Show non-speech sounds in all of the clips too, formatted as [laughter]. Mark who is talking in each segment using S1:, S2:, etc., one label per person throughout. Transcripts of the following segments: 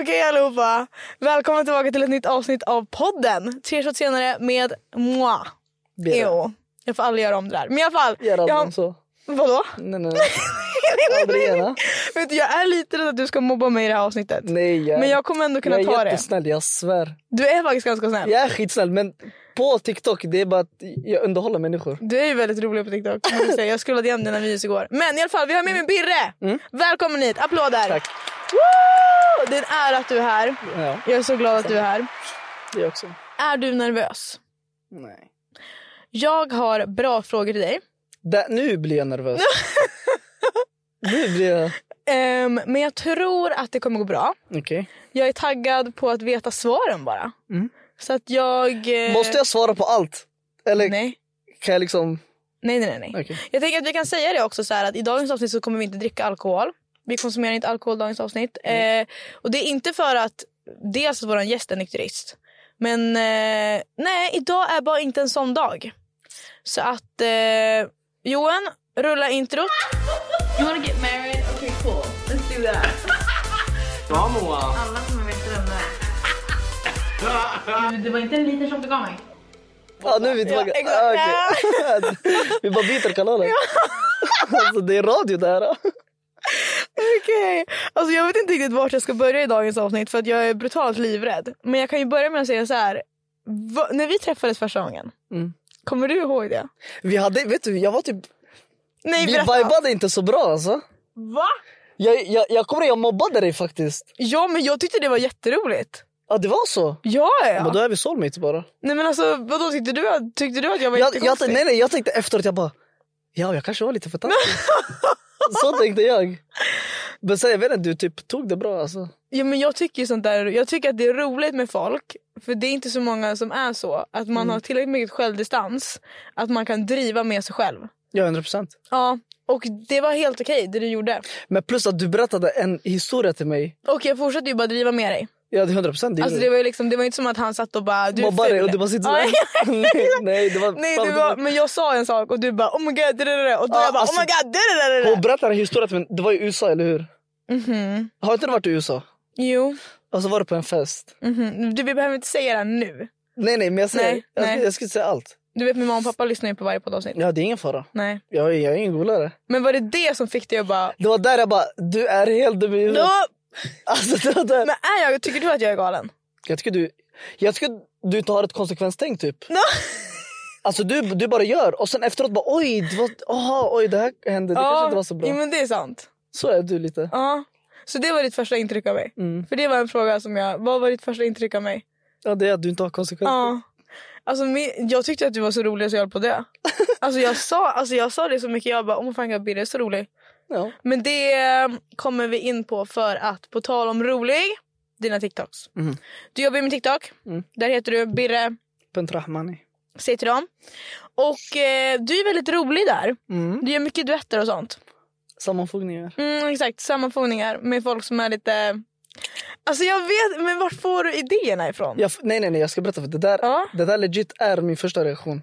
S1: Okej allihopa, välkomna tillbaka till ett nytt avsnitt av podden. Tre shots senare med moi.
S2: Be det.
S1: Jo, jag får aldrig göra om det där. Men i alla fall.
S2: Gör aldrig
S1: jag,
S2: om så. Mm.
S1: Vadå? [laughs]
S2: Nej nej. Aldrig gärna.
S1: Vet du, jag är lite rädd att du ska mobba mig i det här avsnittet.
S2: Nej, jag,
S1: Men jag kommer ändå kunna
S2: jag
S1: ta
S2: är
S1: det.
S2: jättesnäll, jag svär.
S1: Du är faktiskt ganska snäll.
S2: Jag är skitsnäll men på TikTok det är bara att jag underhåller människor.
S1: Du är ju väldigt rolig på TikTok. måste jag säga. Jag scrollade igen dina videos igår. Men i alla fall, vi har med mig Birre. Välkommen hit, applåder.
S2: Mm. Tack.
S1: Woo! Det är en ära att du är här.
S2: Ja,
S1: Jag är så glad att du är här.
S2: det också.
S1: Är du nervös?
S2: Nej.
S1: Jag har bra frågor till dig.
S2: Där, nu blir
S1: [laughs]
S2: jag nervös. nu blir jag...
S1: Ehm, men jag tror att det kommer gå bra.
S2: Okej.
S1: Jag är taggad på att veta svaren bara.
S2: Mm.
S1: Så att jag... eh,
S2: Måste jag svara på allt? Eller
S1: Nej.
S2: kan jag liksom...
S1: Nej, nej, nej. nej.
S2: Okej.
S1: Jag tänker att vi kan säga det också så här att i dagens avsnitt så kommer vi inte dricka alkohol. Vi konsumerar inte alkohol i dagens avsnitt. Eh, och det är inte för att dels att vår gäst är nykterist. Men eh, nej, idag är bara inte en sån dag. Så att eh, Johan, rulla introt.
S3: You wanna get married? Okay, cool. Let's do that. Alla som är vet vem det är. Du, Det var inte en liten som du gav mig.
S2: Ah, nu är vi tillbaka.
S1: Ja, exakt.
S2: Ah, okej. [laughs] vi bara byter kanaler. alltså det är radio det
S1: [laughs]
S2: här.
S1: Okej. Alltså jag vet inte riktigt vart jag ska börja i dagens avsnitt för att jag är brutalt livrädd. Men jag kan ju börja med att säga så här. Va, när vi träffades första gången,
S2: Mm.
S1: kommer du ihåg det?
S2: Vi hade, vet du, jag var typ...
S1: Nej
S2: Vi
S1: berätta.
S2: vibade inte så bra alltså.
S1: Va?
S2: Jag, jag, jag kommer ihåg jag mobbade dig faktiskt.
S1: Ja men jag tyckte det var jätteroligt.
S2: Ja det var så.
S1: Ja
S2: Men då
S1: ja.
S2: är vi soulmates bara.
S1: Nej men alltså vadå tyckte du, att- tyckte du att jag var
S2: Jag, jag,
S1: jättekonstig?
S2: nej, nej, jag tänkte efteråt, jag bara, ja jag kanske var lite
S1: [laughs]
S2: för taskig. så tänkte jag. Men sen jag vet inte, du typ tog det bra alltså.
S1: Ja, men jag tycker ju sånt där, jag tycker att det är roligt med folk. För det är inte så många som är så. Att man
S2: Mm.
S1: har tillräckligt mycket självdistans. Att man kan driva med sig själv.
S2: Ja 100 procent.
S1: Ja. Och det var helt okej det du gjorde.
S2: Men plus att du berättade en historia till mig.
S1: Och jag fortsatte ju bara driva med dig.
S2: Ja det är 100 procent.
S1: Alltså det var ju liksom, det var inte som att han satt och bara du är
S2: Mobbade dig
S1: ful.
S2: och du bara sitter
S1: Ja,
S2: sådär. [laughs] nej, nej, det
S1: [laughs]
S2: var,
S1: Nej
S2: fan,
S1: det
S2: det
S1: var, men jag sa en sak och du bara oh my god dadadada. och då
S2: Ja,
S1: jag bara
S2: alltså-
S1: oh my god dadadada.
S2: Hon berättade en historia till mig, det var i USA eller hur?
S1: Mhm.
S2: Har inte du varit i USA?
S1: Jo,
S2: Och så Alltså, var du på en fest.
S1: mhm. du vi behöver inte säga det här nu.
S2: Nej nej men jag säger,
S1: Nej,
S2: jag,
S1: nej.
S2: jag ska inte säga allt.
S1: Du vet min mamma och pappa lyssnar ju på varje poddavsnitt.
S2: Ja det är ingen fara.
S1: Nej.
S2: Jag, jag är ingen golare.
S1: Men var det det som fick dig att bara
S2: Det var där jag bara, du är helt dum i huvudet.
S1: "Nå,
S2: [laughs] Alltså, det var där.
S1: Men är jag, tycker du att jag är galen?
S2: Jag tycker du, jag tycker du inte har ett konsekvenstänk typ.
S1: No.
S2: [laughs] Alltså du, du bara gör och sen efteråt bara oj, det var, aha, oj det här hände, det kanske inte var så bra.
S1: Ja, Mm. men det är sant.
S2: Så är du lite.
S1: Ja. Så det var ditt första intryck av mig.
S2: Mm.
S1: För det var en fråga som jag, vad var ditt första intryck av mig?
S2: Ja det är att du inte har konsekvenser.
S1: Ja. [laughs] Alltså, min, jag tyckte att du var så rolig så jag höll på det. Alltså jag sa, alltså, jag sa det så mycket, jag bara oh my fan jag Birre är så rolig.
S2: Ja.
S1: Men det eh, kommer vi in på för att på tal om rolig, dina TikToks.
S2: Mhm.
S1: Du jobbar ju med TikTok,
S2: Mm.
S1: där heter du Birre,
S2: Bent Rahmani.
S1: säg till dem. Och eh, du är väldigt rolig där,
S2: Mm.
S1: du gör mycket duetter och sånt.
S2: Sammanfogningar.
S1: Mm, exakt, sammanfogningar med folk som är lite... Alltså jag vet, men vart får du idéerna ifrån?
S2: Jag, f- nej nej nej jag ska berätta för det där,
S1: Ja.
S2: det där legit är min första reaktion.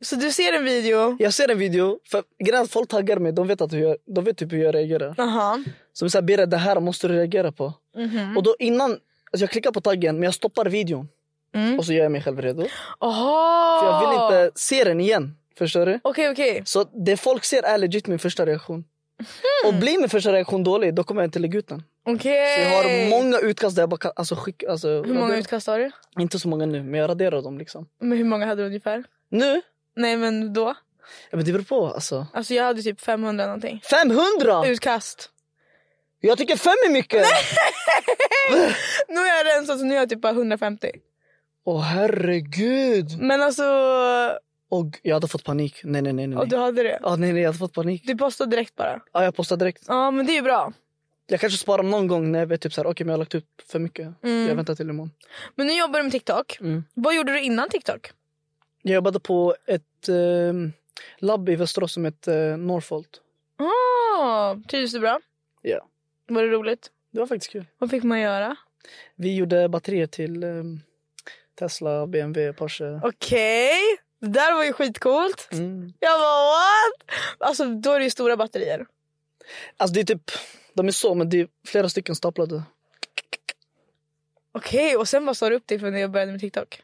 S1: Så du ser en video,
S2: Jag ser en video, för grejen är att folk taggar mig, de vet, att hur jag, de vet typ hur jag reagerar.
S1: jaha.
S2: Så de säger Birre det här måste du reagera på.
S1: Mhm.
S2: Och då innan, alltså jag klickar på taggen men jag stoppar videon
S1: Mm.
S2: och så gör jag mig själv redo.
S1: Aha!
S2: För jag vill inte se den igen. Förstår du?
S1: Okej okej.
S2: Så det folk ser är legit min första reaktion.
S1: Hmm.
S2: Och blir min första reaktion dålig, då kommer jag inte lägga ut den. Så
S1: Okej.
S2: jag har många utkast där jag bara kan, alltså, skicka, alltså,
S1: Hur många
S2: radera-
S1: utkast har du?
S2: Inte så många nu, men jag raderar dem liksom.
S1: Men hur många hade du ungefär?
S2: Nu?
S1: Nej men då?
S2: Ja, men det beror på alltså.
S1: Alltså jag hade typ 500 någonting.
S2: 500!
S1: Utkast.
S2: Jag tycker fem är mycket!
S1: Nu är jag rensad så nu är jag typ bara 150.
S2: Åh herregud!
S1: Men alltså
S2: Och jag hade fått panik. Nej, nej, nej. nej.
S1: Och du hade det?
S2: Ja, nej, nej, jag hade fått panik.
S1: Du postade direkt bara?
S2: Ja, jag postade direkt.
S1: Ja men det är ju bra.
S2: Jag kanske sparar någon gång när jag vet typ så här, okej, men jag har lagt ut för mycket.
S1: Mm.
S2: Jag väntar till imorgon.
S1: Men nu jobbar du med TikTok.
S2: Mm.
S1: Vad gjorde du innan TikTok?
S2: Jag jobbade på ett eh, labb i Västerås som hette eh, Norfold.
S1: Ah, trivdes du bra?
S2: Ja.
S1: Var det roligt?
S2: Det var faktiskt kul.
S1: Vad fick man göra?
S2: Vi gjorde batterier till eh, Tesla, BMW, Porsche.
S1: Okej, det där var ju skitcoolt.
S2: Mm.
S1: Jag bara what? Alltså då är det ju stora batterier.
S2: Alltså det är typ, de är så men det är flera stycken staplade.
S1: Okej och sen bara sa du upp dig för när jag började med TikTok?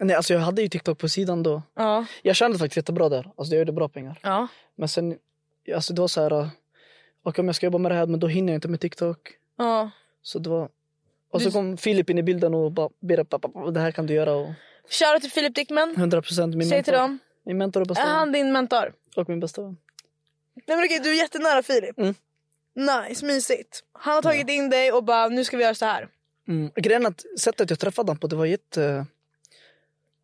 S2: Nej, alltså jag hade ju TikTok på sidan då.
S1: Ja.
S2: Jag tjänade faktiskt jättebra där. Alltså jag gjorde bra pengar.
S1: Ja.
S2: Men sen, alltså det var så här. eh, Okej om jag ska jobba med det här men då hinner jag inte med TikTok.
S1: ja.
S2: Så det var... Och
S1: Du-
S2: så kom Filip in i bilden och bara ber upp, det här kan du göra. Och
S1: Shoutout till Filip Dickman.
S2: 100 procent Mm. min
S1: Säg till
S2: mentor.
S1: dem.
S2: Min mentor och
S1: Är
S2: bästa vän.
S1: han din mentor?
S2: Och min bästa vän.
S1: Nej men okej, du är jättenära Filip.
S2: Mm.
S1: Nice, mysigt. Han har tagit in dig och bara nu ska vi göra så här.
S2: Mm. Grejen är att sättet jag träffade honom på det var jätte...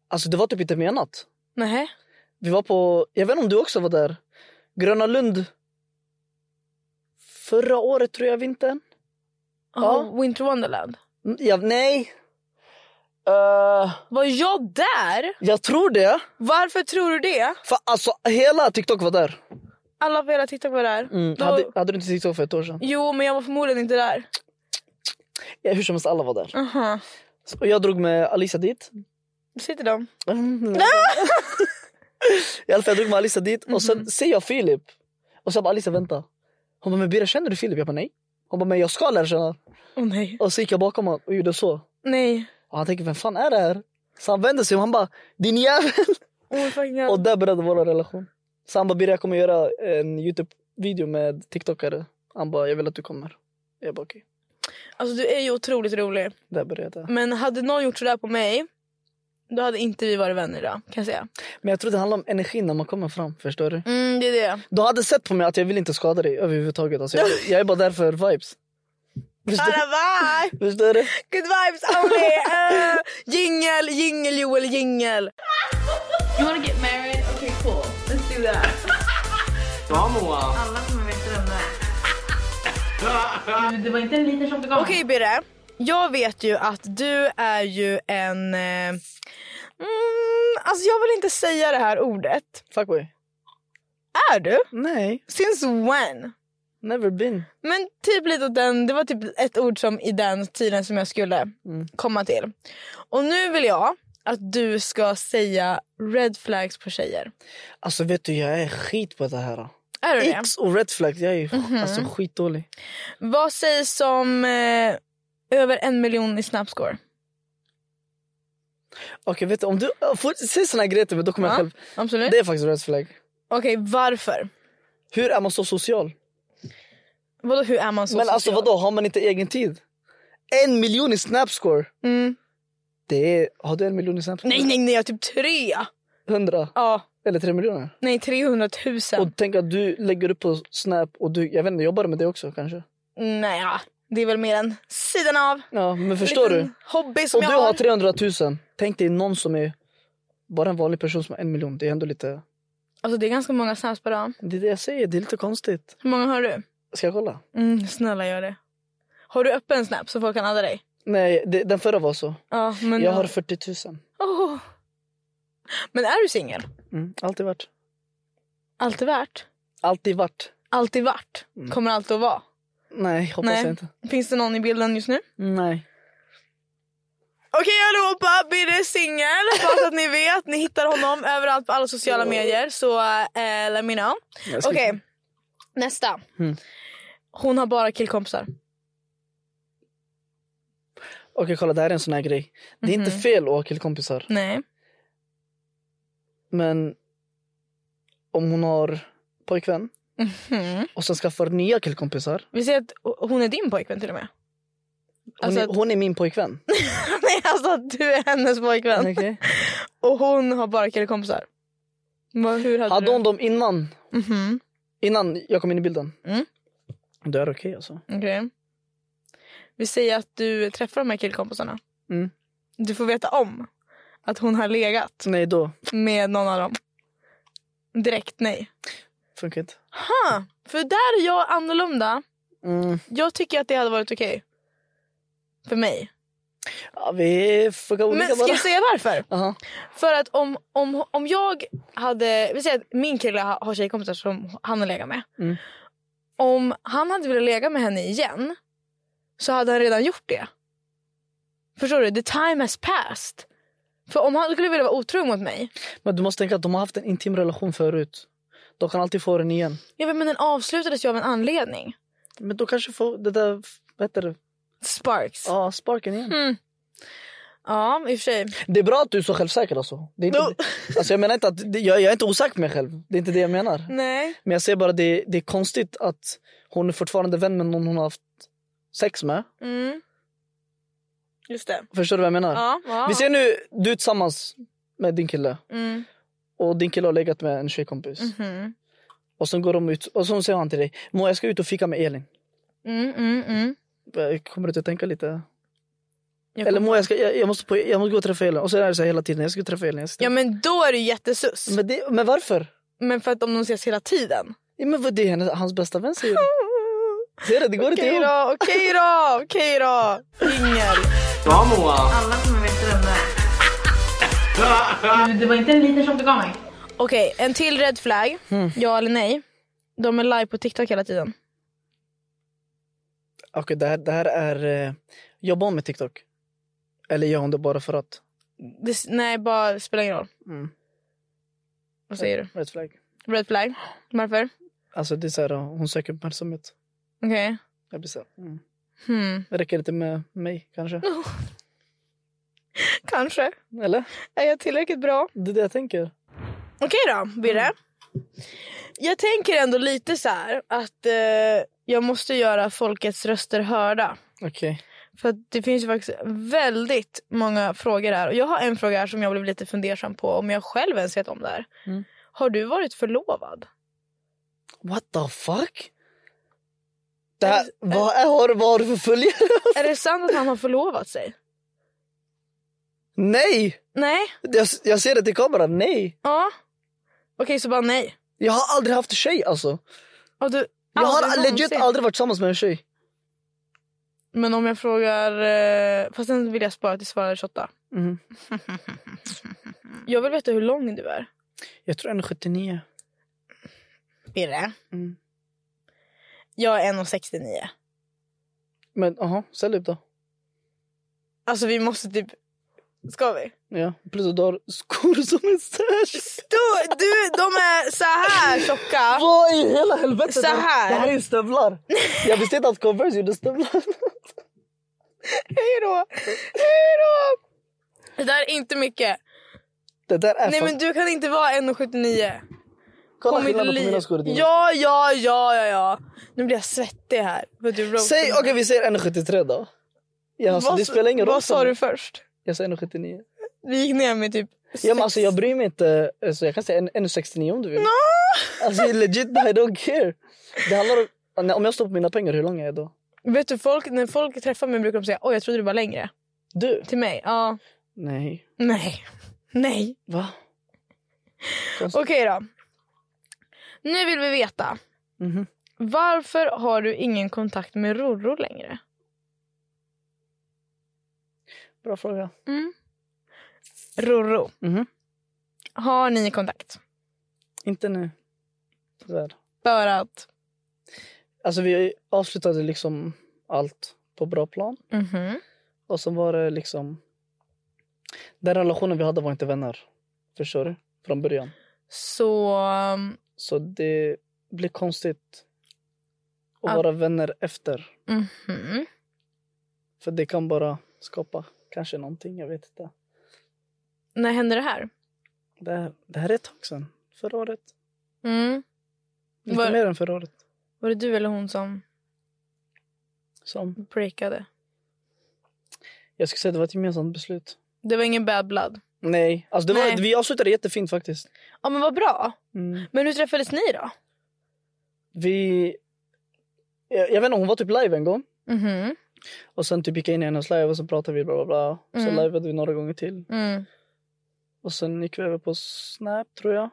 S2: Alltså det var typ inte menat.
S1: Nej.
S2: Vi var på, jag vet inte om du också var där, Gröna Lund. Förra året tror jag vintern.
S1: Ja.
S2: Ja.
S1: Winter Wonderland.
S2: Mm, Ja, nej. Eh,
S1: Var jag där?
S2: jag tror det.
S1: Varför tror du det?
S2: För alltså hela TikTok var där.
S1: Alla på hela TikTok var där.
S2: Mm.
S1: Då-
S2: Hade, hade du inte TikTok för ett år sedan?
S1: Jo men jag var förmodligen inte där.
S2: Ja, hur som helst alla var där.
S1: Aha.
S2: Så- Och jag drog med Alisa dit.
S1: Sitter de?
S2: Mm. I alla fall jag drog med Alisa dit och sen ser jag Filip. Och så bara Alisa vänta. Hon bara men Bira känner du Filip? Jag bara nej. Hon bara men jag ska lära känna.
S1: Åh nej.
S2: Och så gick jag bakom honom och gjorde så.
S1: Nej.
S2: Och han tänker vem fan är det här? Så han vänder sig och han bara din jävel.
S1: Oh, fucking hell.
S2: Och där började vår relation. Så han bara Bira jag kommer göra en Youtube-video med TikTokare. Han bara jag vill att du kommer. Jag bara okej.
S1: Alltså du är ju otroligt rolig.
S2: Där började det.
S1: Men hade någon gjort sådär på mig då hade inte vi varit vänner idag kan jag säga.
S2: Men jag tror det handlar om energin när man kommer fram. Förstår du?
S1: Mm, det är det.
S2: Du hade sett på mig att jag vill inte skada dig överhuvudtaget. Alltså, jag, jag är bara där för vibes.
S1: [laughs]
S2: Förstår,
S1: Alla bye!
S2: förstår du?
S1: Good vibes only! Uh, jingel, jingel Joel, jingel!
S3: You wanna get married? Okay, cool. Let's do that. Alla kommer veta vem det är. Det var inte en liten tjock
S1: Okej Birre, jag vet ju att du är ju en... Eh, mm, alltså jag vill inte säga det här ordet.
S2: Fuckboy?
S1: Är du?
S2: Nej,
S1: Since when?
S2: never been.
S1: Men typ lite åt den, det var typ ett ord som i den tiden som jag skulle
S2: Mm.
S1: komma till. Och nu vill jag att du ska säga red flags på tjejer.
S2: Alltså vet du, jag är skit på det här.
S1: Är du det? Mhm.
S2: X och red flag, jag är alltså, skitdålig.
S1: Vad sägs om eh, över en miljon i snapscore?
S2: Okej, vet du, om du äh, får, säg såna här grejer till mig, då kommer
S1: Ja,
S2: jag själv.
S1: Absolut.
S2: Det är faktiskt red flag.
S1: Okej, varför?
S2: Hur är man så social?
S1: Vadå, hur är man så
S2: Men alltså
S1: social?
S2: vadå, har man inte egen tid? En miljon i snapscore?
S1: Mm.
S2: Det är, har du en miljon i snapscore?
S1: Nej, nej, nej, jag har typ tre.
S2: Hundra?
S1: Ja,
S2: Eller tre miljoner?
S1: nej, 300 000.
S2: Och tänk att du lägger upp på snap och du, jag vet inte, jobbar du med det också kanske?
S1: Nej, ja, det är väl mer än sidan av.
S2: Ja, men förstår
S1: Liten
S2: du?
S1: Hobby som
S2: Och du
S1: jag har.
S2: har typ- 300 000. Tänk dig någon som är bara en vanlig person som har en miljon. Det är ändå lite...
S1: Alltså det är ganska många snaps på dagen.
S2: Det är det jag säger, det är lite konstigt.
S1: Hur många har du?
S2: Ska jag kolla?
S1: Mm, snälla gör det. Har du öppen snap så folk kan adda dig?
S2: Nej, det, den förra var så.
S1: Ja, men...
S2: Jag har 40 000.
S1: Åh. Men är du singel?
S2: Mm. Alltid varit.
S1: Alltid värt?
S2: Alltid varit.
S1: Alltid vart?
S2: Mm.
S1: Kommer alltid att vara?
S2: Nej, hoppas
S1: Nej.
S2: jag inte.
S1: Finns det någon i bilden just nu?
S2: Nej.
S1: Okej allihopa, Birre är singel. Bara så att ni vet. Ni hittar honom överallt på alla sociala medier. Så eh, let me know.
S2: Jag ska-
S1: Okej, nästa.
S2: Mm.
S1: Hon har bara killkompisar.
S2: Okej, kolla det här är en sån här grej. Det är
S1: Mhm.
S2: inte fel att ha killkompisar.
S1: Nej.
S2: Men om hon har pojkvän och sen skaffar nya killkompisar.
S1: Hmm. Vi säger att hon är din pojkvän till och med.
S2: Hon,
S1: Alltså
S2: är,
S1: att-
S2: hon är min pojkvän.
S1: [laughs] Nej alltså att du är hennes pojkvän.
S2: Okej.
S1: Och hon har bara killkompisar. Vad- Hur hade,
S2: Hade
S1: du?
S2: hon dem innan
S1: Mhm,
S2: Innan jag kom in i bilden?
S1: Mm.
S2: Då är det okej alltså.
S1: okej. Vi säger att du träffar de här killkompisarna.
S2: Mm.
S1: Du får veta om att hon har legat
S2: Nej då.
S1: med någon av dem. Direkt nej.
S2: Funkar inte.
S1: Huh. För där är jag annorlunda.
S2: Mm.
S1: Jag tycker att det hade varit okej. För mig.
S2: Ja, vi funkar olika
S1: Men ska
S2: bara.
S1: jag säga varför?
S2: Aha.
S1: För att om, om, om jag hade... Vi säger att min kille ha- har tjejkompisar som han har legat med.
S2: Mm.
S1: Om han hade velat lägga med henne igen så hade han redan gjort det. Förstår du? The time has passed. För om han skulle vilja vara otrogen mot mig.
S2: Men du måste tänka att de har haft en intim relation förut. De kan alltid få den igen.
S1: Jag vet, men den avslutades ju av en anledning.
S2: Men då kanske får det där, vad heter det?
S1: Sparks.
S2: Ja, sparken igen.
S1: Ja, i och för sig.
S2: [laughs] Det är bra att du är så självsäker alltså. Det är inte,
S1: No.
S2: [laughs] alltså jag menar inte att, det- jag, jag är inte osäker på mig själv. Det är inte det jag menar.
S1: Nej.
S2: Men jag ser bara det, det är konstigt att hon är fortfarande vän med någon hon har haft sex med.
S1: Mm. Just det.
S2: Förstår du vad jag menar?
S1: Ja, ja.
S2: Vi ser nu, du är tillsammans med din kille.
S1: Mm.
S2: Och din kille har legat med en tjejkompis.
S1: Mm.
S2: Och sen går de ut och så säger han till dig. Må jag ska ut och fika med Elin.
S1: Mm, mm, mm.
S2: Eh, Kommer du inte att tänka lite?
S1: Jag
S2: Eller må jag, ska, jag, jag, måste på, jag måste gå och träffa Elin. Och så är det så här hela tiden. Jag ska träffa Elin. Jag ska
S1: Ja
S2: träffa.
S1: men då är det ju jättesus. Men,
S2: Men, det, men varför?
S1: för att om de ses hela tiden.
S2: Ja, men vad det är hennes, hans bästa vän säger det.
S1: [laughs]
S2: Ser du? Det går inte
S1: Okej
S2: ihop.
S1: då, okej då, okej då. Ingen.
S3: Alla kommer veta vem det är. Men Det var inte en liten som du gav mig.
S1: Okej, en till red flag. Ja eller nej. De är live på TikTok hela tiden.
S2: Okej, det här, det här är... Eh, jobba om med TikTok. Eller gör hon det bara för att?
S1: Det, s- nej, bara spelar ingen roll.
S2: Mm.
S1: Vad säger du?
S2: Red flag.
S1: Red flag? Varför?
S2: Alltså det är så här, hon söker uppmärksamhet.
S1: Okej.
S2: Jag blir så här, mm.
S1: Hmm.
S2: Det räcker inte med mig kanske.
S1: Kanske.
S2: Eller?
S1: Är jag tillräckligt bra? Hmm.
S2: Det är det jag tänker.
S1: Okej då, Birre. Jag tänker ändå lite så här att eh, jag måste göra folkets röster hörda.
S2: Okej.
S1: För att det finns ju faktiskt väldigt många frågor här. Och jag har en fråga här som jag blev lite fundersam på om jag själv ens vet om det här.
S2: Mm.
S1: Har du varit [laughs] förlovad?
S2: What the fuck? Det här, vad, är, har, vad har du för följare? [laughs]
S1: Är det sant att han har förlovat sig?
S2: Nej!
S1: Nej?
S2: Jag, jag ser det till kameran, nej.
S1: Ja. Okej, så bara nej.
S2: Jag har aldrig haft en tjej alltså.
S1: Och du,
S2: Jag har
S1: aldrig
S2: legit
S1: någonsin.
S2: aldrig varit tillsammans med en tjej.
S1: Men om jag frågar... eh, Fast sen vill jag spara till svarare 28.
S2: Mm.
S1: Jag vill veta hur lång du är.
S2: Jag tror en är 79.
S1: Birre.
S2: Mm.
S1: Jag är 1,69.
S2: Men aha, sälj upp då.
S1: Alltså vi måste typ... Ska vi?
S2: Ja. Plus att du har skor som en stash.
S1: Stor, du, de är så här [laughs] tjocka.
S2: Vad i hela helvetet?
S1: Så här.
S2: Det här är ju stövlar. Jag visste inte att Converse gjorde stövlar. [laughs]
S1: Hej då! Hej då! Det där är inte mycket.
S2: Det där är
S1: Nej
S2: fan...
S1: men du kan inte vara 1,79.
S2: Kolla
S1: mitt
S2: skillnaden på
S1: liv.
S2: mina skor och dina.
S1: Ja, ja, ja, ja, ja. Nu blir jag svettig här. För att du roastar
S2: Säg,
S1: mig.
S2: okej vi säger 1,73 då. Ja, så
S1: Vad
S2: det
S1: s-
S2: spelar ingen roll.
S1: Vad sa du först?
S2: Jag säger 1,79.
S1: Vi gick ner med typ...
S2: Ja, men
S1: sex.
S2: alltså, jag bryr mig inte. Alltså, jag kan säga en- 1,69 om du vill. Alltså legit, I don't care. Det handlar om... Om jag står på mina pengar, hur lång är jag då?
S1: Vet du, folk, när folk träffar mig brukar de säga oj jag trodde du var längre.
S2: Du?
S1: Till mig? Ja.
S2: Nej.
S1: Nej. Nej.
S2: Va?
S1: Okej då. Nu vill vi veta.
S2: Mhm.
S1: Varför har du ingen kontakt med Rorro längre?
S2: Bra fråga.
S1: Rorro.
S2: Mhm.
S1: Har ni kontakt?
S2: Inte nu. Tyvärr.
S1: För att...
S2: Alltså vi avslutade liksom allt på bra plan.
S1: Mhm.
S2: Och sen var det liksom... Den relationen vi hade var inte vänner. Förstår du? Från början.
S1: Så... um,
S2: Så det blir konstigt att
S1: Ja.
S2: vara vänner efter.
S1: mhm.
S2: För det kan bara skapa kanske någonting, jag vet inte.
S1: När hände det här?
S2: Det här, det här är ett tag sedan. Förra året.
S1: Mm.
S2: Lite
S1: Var-
S2: mer än förra året.
S1: Var det du eller hon som
S2: Som
S1: breakade?
S2: jag skulle säga det var ett gemensamt beslut.
S1: Det var ingen bad blood.
S2: Nej, alltså det var,
S1: Nej.
S2: vi avslutade jättefint faktiskt.
S1: Ja men vad bra.
S2: Mm.
S1: Men hur träffades ni då?
S2: Vi... Jag, jag vet inte, hon var typ live en gång.
S1: Mhm.
S2: Och sen typ gick jag in i hennes live och så pratade vi bla bla bla. Och så
S1: Mm.
S2: liveade vi några gånger till.
S1: Mm.
S2: Och sen gick vi över på Snap tror jag.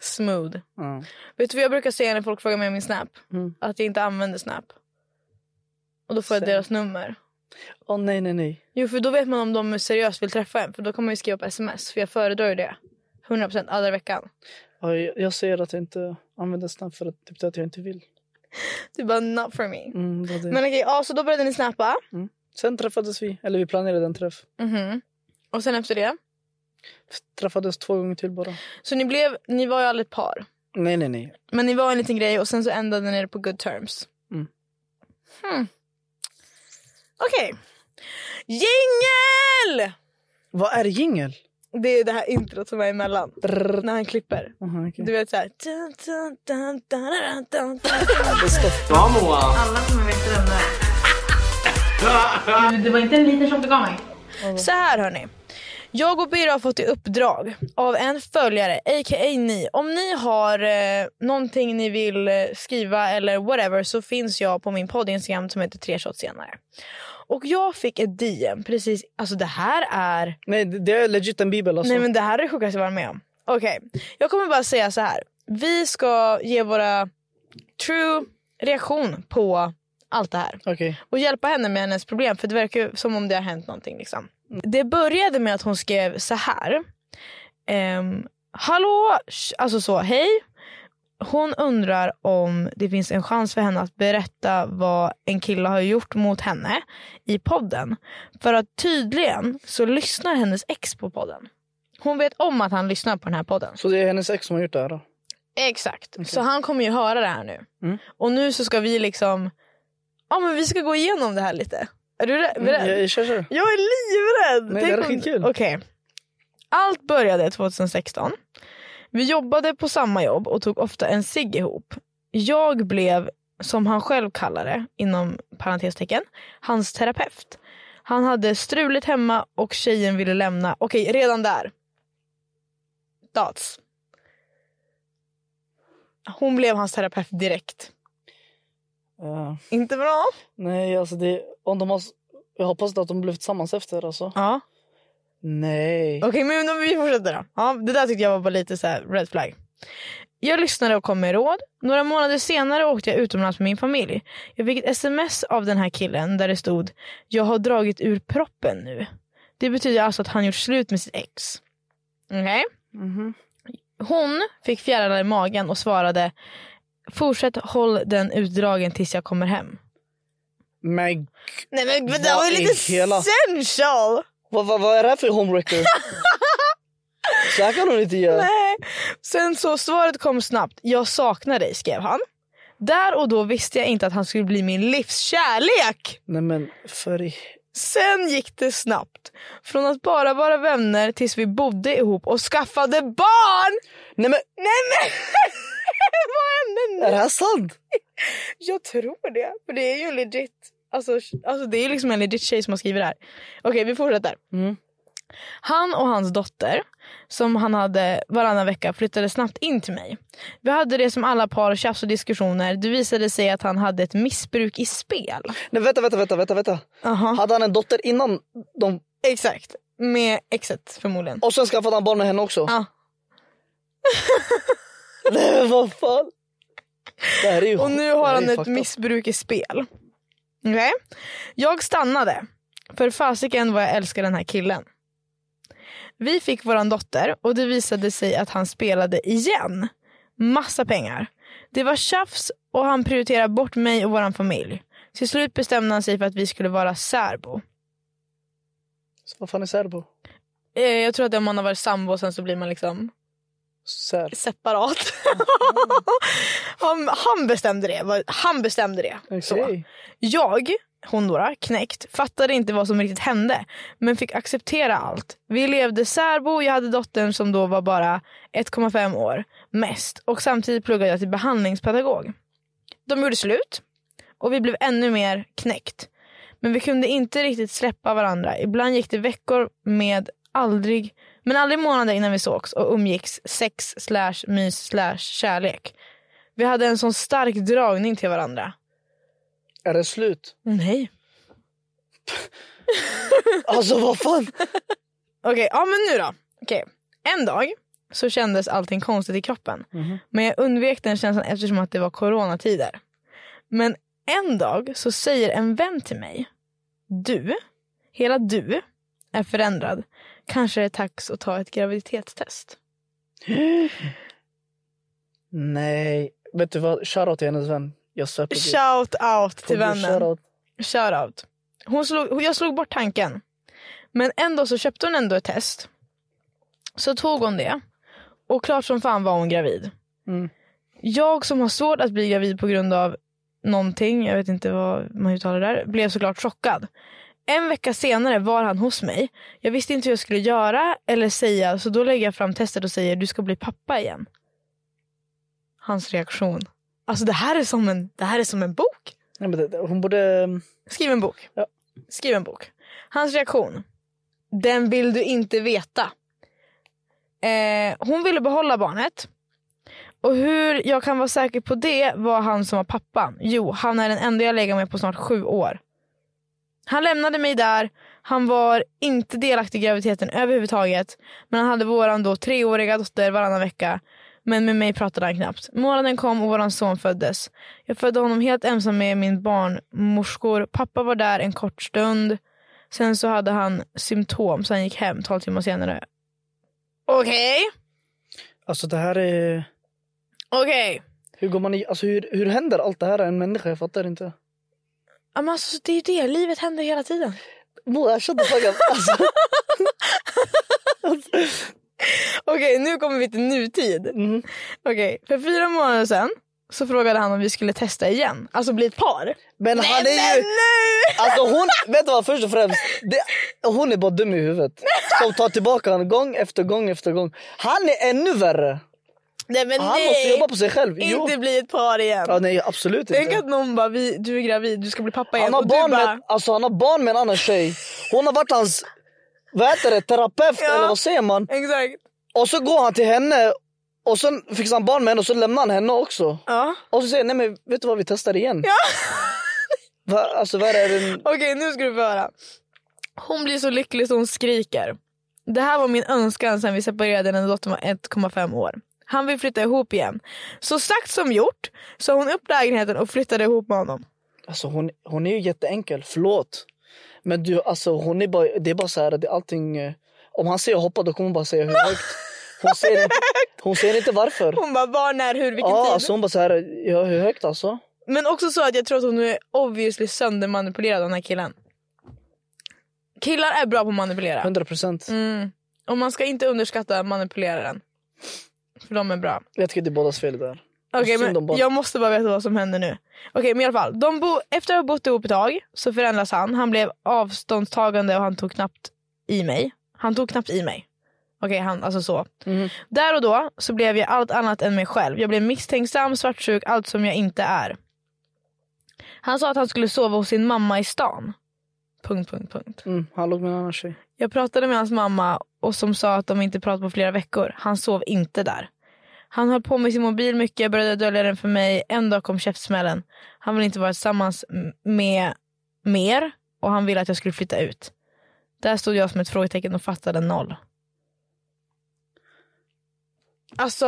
S1: Smooth.
S2: Mm.
S1: Vet du vad jag brukar säga när folk frågar mig om min Snap?
S2: Mm.
S1: Att jag inte använder Snap. Och då får jag
S2: Säg.
S1: deras nummer.
S2: Åh nej, nej, nej.
S1: Jo, för då vet man om de seriöst vill träffa en. För då kommer man ju skriva på sms. För jag föredrar ju det. 100% alla i veckan.
S2: Ja, Jag, jag säger att jag inte använder Snap för att, typ, att jag inte vill.
S1: Du bara, not for me.
S2: Mm, det var det.
S1: Men okej, ja, så då började ni snappa.
S2: Sen träffades vi, eller vi planerade en träff.
S1: Mhm. Och sen efter det?
S2: Träffades två gånger till bara.
S1: Så ni, blev, ni var ju aldrig ett par.
S2: Nej, nej, nej.
S1: Men ni var en liten grej och sen så ändade ni det på good terms.
S2: Mm.
S1: Hmm. Okej. Jingel!
S2: Vad är jingel?
S1: Det är det här introt som är emellan. När han klipper.
S2: Aha, okej.
S1: Du vet såhär... Dun, dun, dun, dun, dun, dun, dun.
S3: Alla kommer veta vem det är. Men Det var inte en liter som du gav mig.
S1: Så här hörni. Jag och Birra har fått i uppdrag av en följare, a.k.a. ni. Om ni har eh, någonting ni vill eh, skriva eller whatever så finns jag på min podd Instagram som heter tre shots senare. Och jag fick ett DM precis, alltså det här är,
S2: Nej, det det är legit en bibel alltså.
S1: nej men det här är det sjukaste jag varit med om. Okej, jag kommer bara säga så här. Vi ska ge våra true reaktion på allt det här
S2: Okej.
S1: och hjälpa henne med hennes problem för det verkar ju som om det har hänt någonting. Liksom. Det började med att hon skrev så här. Ehm, Hallå, sh- alltså så, hej. Hon undrar om det finns en chans för henne att berätta vad en kille har gjort mot henne i podden. För att tydligen så lyssnar hennes ex på podden. Hon vet om att han lyssnar på den här podden.
S2: Så det är hennes ex som har gjort det här då?
S1: Exakt. Så han kommer ju höra det här nu.
S2: Mm.
S1: Och nu så ska vi liksom... Ja men vi ska gå igenom det här lite. Är du rä- beredd?
S2: Mm, jag, kör, kör.
S1: Jag är livrädd!
S2: Nej, det här är
S1: om-
S2: skitkul.
S1: Okej. Allt började 2016. Vi jobbade på samma jobb och tog ofta en cigg ihop. Jag blev, som han själv kallar det, inom parentestecken, hans terapeut. Han hade struligt hemma och tjejen ville lämna. Okej, redan där. Dots. Hon blev hans terapeut direkt.
S2: Ja.
S1: Inte bra?
S2: nej, alltså det... Om de har, jag hoppas att de blev tillsammans efter alltså.
S1: Ja.
S2: Nej.
S1: Okej, men om vi fortsätter då. Ja, det där tyckte jag var bara lite så här red flag. Jag lyssnade och kom med råd. Några månader senare åkte jag utomlands med min familj. Jag fick ett sms av den här killen där det stod “Jag har dragit ur proppen nu”. Det betyder alltså att han gjort slut med sitt ex. Okej?
S2: Mhm.
S1: Hon fick fjärilar i magen och svarade “Fortsätt håll den utdragen tills jag kommer hem”.
S2: Men
S1: Nej men,
S2: men det var ju Vad lite i hela-
S1: sensual!
S2: vad, vad, vad är det här för [laughs] homewrecker? så här kan hon inte
S1: [laughs]
S2: göra.
S1: Nej. Sen så svaret kom snabbt. Jag saknar dig skrev han. Där och då visste jag inte att han skulle bli min livskärlek.
S2: Nej men för i...
S1: Sen gick det snabbt. Från att bara vara vänner tills vi bodde ihop och skaffade barn.
S2: Nej men
S1: Nej men! [laughs] Vad hände
S2: är det
S1: nu?
S2: här sant?
S1: Jag tror det. För det är ju en legit. Alltså, alltså det är ju liksom en legit tjej som har skrivit det här. Okej vi fortsätter.
S2: Mm.
S1: Han och hans dotter, som han hade varannan vecka, flyttade snabbt in till mig. Vi hade det som alla par, tjafs och diskussioner. Det visade sig att han hade ett missbruk i spel.
S2: Nej vänta, vänta, vänta, vänta, vänta.
S1: Aha.
S2: Hade han en dotter innan de...
S1: Exakt. Med exet förmodligen.
S2: Och sen skaffade han barn med henne också?
S1: Ja.
S2: Nej men vad fan. Det här är ju
S1: Och nu har
S2: det här
S1: han
S2: är ju
S1: ett
S2: fucked up.
S1: missbruk i spel. Okej? Jag stannade. För fasiken vad jag älskar den här killen. Vi fick våran dotter och det visade sig att han spelade igen. Massa pengar. Det var tjafs och han prioriterade bort mig och våran familj. Till slut bestämde han sig för att vi skulle vara särbo.
S2: Så vad fan är serbo?
S1: Eh, Jag tror att om man har varit sambo sen så blir man liksom
S2: Ser.
S1: separat.
S2: Mm.
S1: [laughs] han, han bestämde det. Han bestämde det. Så.
S2: Okej.
S1: Jag, hon då, knäckt, fattade inte vad som riktigt hände men fick acceptera allt. Vi levde särbo, jag hade dottern som då var bara 1,5 år mest och samtidigt pluggade jag till behandlingspedagog. De gjorde slut och vi blev ännu mer knäckt. Men vi kunde inte riktigt släppa varandra. Ibland gick det veckor med aldrig, men aldrig månader innan vi sågs och umgicks sex slash mys slash kärlek. Vi hade en sån stark dragning till varandra.
S2: Är det slut?
S1: Nej.
S2: Alltså vad fan?
S1: Okej, ja men nu då. Okej. En dag så kändes allting konstigt i kroppen.
S2: Mhm.
S1: Men jag undvek den känslan eftersom att det var coronatider. Men en dag så säger en vän till mig. Du, hela du är förändrad. Kanske är det dags att ta ett graviditetstest.
S2: Nej. Vet du vad? Shoutout till hennes vän. Jag svär på Gud.
S1: Shout out
S2: Får
S1: till
S2: du
S1: vännen.
S2: shoutout?
S1: Shoutout. Hon slog, jag slog bort tanken. Men en dag så köpte hon ändå ett test. Så tog hon det. Och klart som fan var hon gravid.
S2: Mm.
S1: Jag som har svårt att bli gravid på grund av någonting, jag vet inte vad man uttalar det där, blev såklart chockad. En vecka senare var han hos mig. Jag visste inte hur jag skulle göra eller säga så då lägger jag fram testet och säger du ska bli pappa igen. Hans reaktion. Alltså det här är som en, det här är som en bok.
S2: Nej, men det- det- hon borde... mm,
S1: Skriv en bok.
S2: Ja.
S1: Skriv en bok. Hans reaktion. Den vill du inte veta. Eh, hon ville behålla barnet. Och hur jag kan vara säker på det var han som var pappan. Jo, han är den enda jag legat med på snart sju år. Han lämnade mig där. Han var inte delaktig i graviditeten överhuvudtaget. Men han hade våran då treåriga dotter varannan vecka. Men med mig pratade han knappt. Månaden kom och våran son föddes. Jag födde honom helt ensam med min barnmorskor. Pappa var där en kort stund. Sen så hade han symptom så han gick hem 12 timmar senare. Okej,
S2: Alltså det här är...
S1: okej.
S2: Hur går man i... Alltså hur, hur händer allt det här en människa? Jag fattar inte.
S1: Ja, men Alltså, det är ju det, livet händer hela tiden.
S2: Mor, jag kände frågan. Alltså,
S1: Okej, nu kommer vi till nutid.
S2: mm.
S1: Okej, för fyra månader sedan så frågade han om vi skulle testa igen. Alltså bli ett par.
S2: Men han är
S1: Men
S2: ju...
S1: nu!
S2: Alltså hon, vet du vad först och främst, det, hon är bara dum i huvudet. Som tar tillbaka honom gång efter gång efter gång. Han är ännu värre.
S1: Nej men
S2: Han måste
S1: nej!
S2: jobba på sig själv. Jo.
S1: Inte bli ett par igen.
S2: Ja, nej absolut
S1: Tänk
S2: inte.
S1: att någon bara, vi, du är gravid, du ska bli pappa igen.
S2: Han har,
S1: och du
S2: barn
S1: bara,
S2: med, alltså, han har barn med en annan tjej. Hon har varit hans, vad heter det, terapeut
S1: Ja.
S2: eller vad säger man?
S1: Exakt.
S2: Och så går han till henne och sen fixar han barn med henne och så lämnar han henne också.
S1: Ja.
S2: Och så säger han, nej men vet du vad vi testar igen. Va, alltså vad är det?
S1: Okej, nu ska du få höra. Hon blir så lycklig så hon skriker. Det här var min önskan sen vi separerade när dottern var 1,5 år. Han vill flytta ihop igen. Så sagt som gjort så hon upp lägenheten och flyttade ihop med honom.
S2: Alltså hon, hon är ju jätteenkel, förlåt. Men du, alltså hon är bara, det är bara så här, det är allting... eh, Om han säger hoppa då kommer hon bara säga hur högt. Hon
S1: [laughs]
S2: säger, inte- hon säger inte varför.
S1: Hon bara var, när, hur, vilken
S2: Ja,
S1: tid.
S2: alltså hon bara så här, ja, hur högt alltså?
S1: Men också så att jag tror att hon är obviously söndermanipulerad av den här killen. Killar är bra på att manipulera.
S2: 100 procent.
S1: Mm. Och man ska inte underskatta manipuleraren. För de är bra.
S2: Jag tycker det är bådas fel där.
S1: Okej,
S2: Synd om
S1: men
S2: barnet.
S1: jag måste bara veta vad som händer nu. Okej, men i alla fall. De bo- efter att ha bott ihop ett tag så förändras han. Han blev avståndstagande och han tog knappt i mig. Han tog knappt i mig. Okej, han, alltså så.
S2: Mhm.
S1: Där och då så blev jag allt annat än mig själv. Jag blev misstänksam, svartsjuk, allt som jag inte är. Han sa att han skulle sova hos sin mamma i stan. Punkt, punkt, punkt.
S2: Mm, han låg med en annan tjej.
S1: Jag pratade med hans mamma och som sa att de inte pratat på flera veckor. Han sov inte där. Han höll på med sin mobil mycket, började dölja den för mig. En dag kom käftsmällen. Han ville inte vara tillsammans m- med mer och han ville att jag skulle flytta ut. Där stod jag som ett frågetecken och fattade noll. Alltså,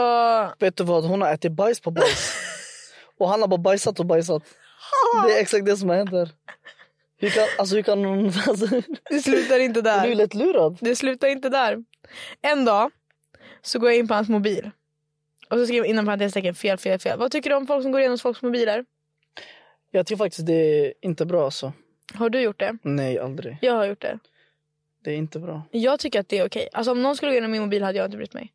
S2: Vet du vad, hon har ätit bajs
S1: [laughs]
S2: på bajs. och han har bara bajsat och bajsat. Det är exakt det som händer. Hur kan, alltså hur kan hon... [laughs] Alltså,
S1: det slutar inte
S2: hon
S1: där.
S2: är ju lätt lurad.
S1: Det slutar inte där. En dag så går jag in på hans mobil. Och så skriver jag inom parentestecken fel, fel, fel. Vad tycker du om folk som går igenom folks mobiler?
S2: Jag tycker faktiskt det är inte bra alltså.
S1: Har du gjort det?
S2: Nej, aldrig.
S1: Jag har gjort det.
S2: Det är inte bra.
S1: Jag tycker att det är okej. Alltså om någon skulle gå igenom min mobil hade jag inte brytt mig.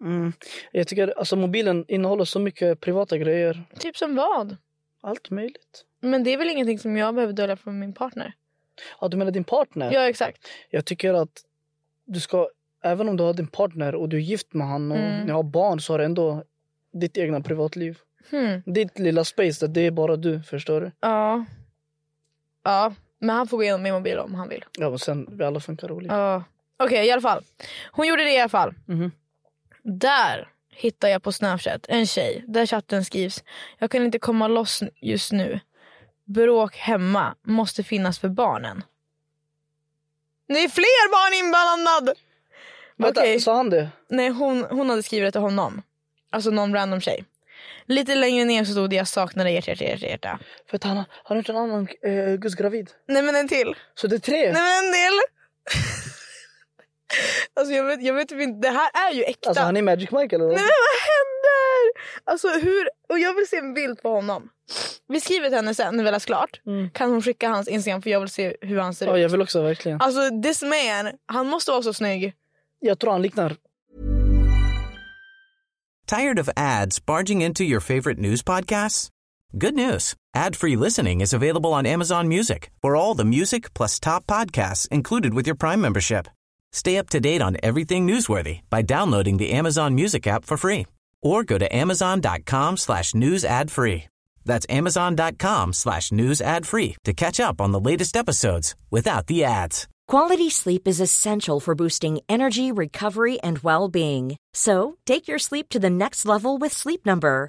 S2: Mm. Jag tycker alltså mobilen innehåller så mycket privata grejer.
S1: Typ som vad?
S2: Allt möjligt.
S1: Men det är väl ingenting som jag behöver dölja från min partner?
S2: Ja, du menar din partner?
S1: Ja exakt.
S2: Jag tycker att du ska, även om du har din partner och du är gift med han och
S1: Mm.
S2: ni har barn så har du ändå ditt egna privatliv.
S1: Hmm.
S2: Ditt lilla space där det är bara du, förstår du?
S1: Ja. Ja. Men han får gå igenom min mobil om han vill.
S2: Ja, men sen vi alla funkar olika.
S1: Ja. Okej i alla fall. Hon gjorde det i alla fall.
S2: Mhm.
S1: Där hittar jag på Snapchat en tjej där chatten skrivs Jag kan inte komma loss just nu. Bråk hemma måste finnas för barnen. Det är fler barn inblandad!
S2: Vänta,
S1: Okej.
S2: sa han det?
S1: Nej hon, hon hade skrivit det till honom. Alltså någon random tjej. Lite längre ner så stod det jag saknar dig hjärta hjärta hjärta hjärta.
S2: För att han har- han har gjort en annan eh, gudsgravid.
S1: Nej men en till.
S2: Så det är tre.
S1: Nej men en till. [laughs] alltså jag vet, jag vet typ inte, det här är ju äkta.
S2: Alltså han är Magic Mike eller? vad?
S1: Nej men vad händer? Alltså hur, och jag vill se en bild på honom. Vi skriver till henne sen när vi har läst klart.
S2: Mm.
S1: Kan hon skicka hans Instagram för jag vill se hur han ser
S2: Ja,
S1: ut.
S2: jag vill också verkligen.
S1: Alltså this man, han måste vara så snygg.
S2: Jag tror han liknar
S4: Tired of ads barging into your favorite news podcasts? Good news. Ad-free listening is available on Amazon Music. For all the music plus top podcasts included with your Prime membership. Stay up to date on everything newsworthy by downloading the Amazon Music app for free or go to amazon.com slash news ad free. That's amazon.com slash news ad free to catch up on the latest episodes without the ads.
S5: Quality sleep is essential for boosting energy, recovery, and well being. So, take your sleep to the next level with Sleep Number.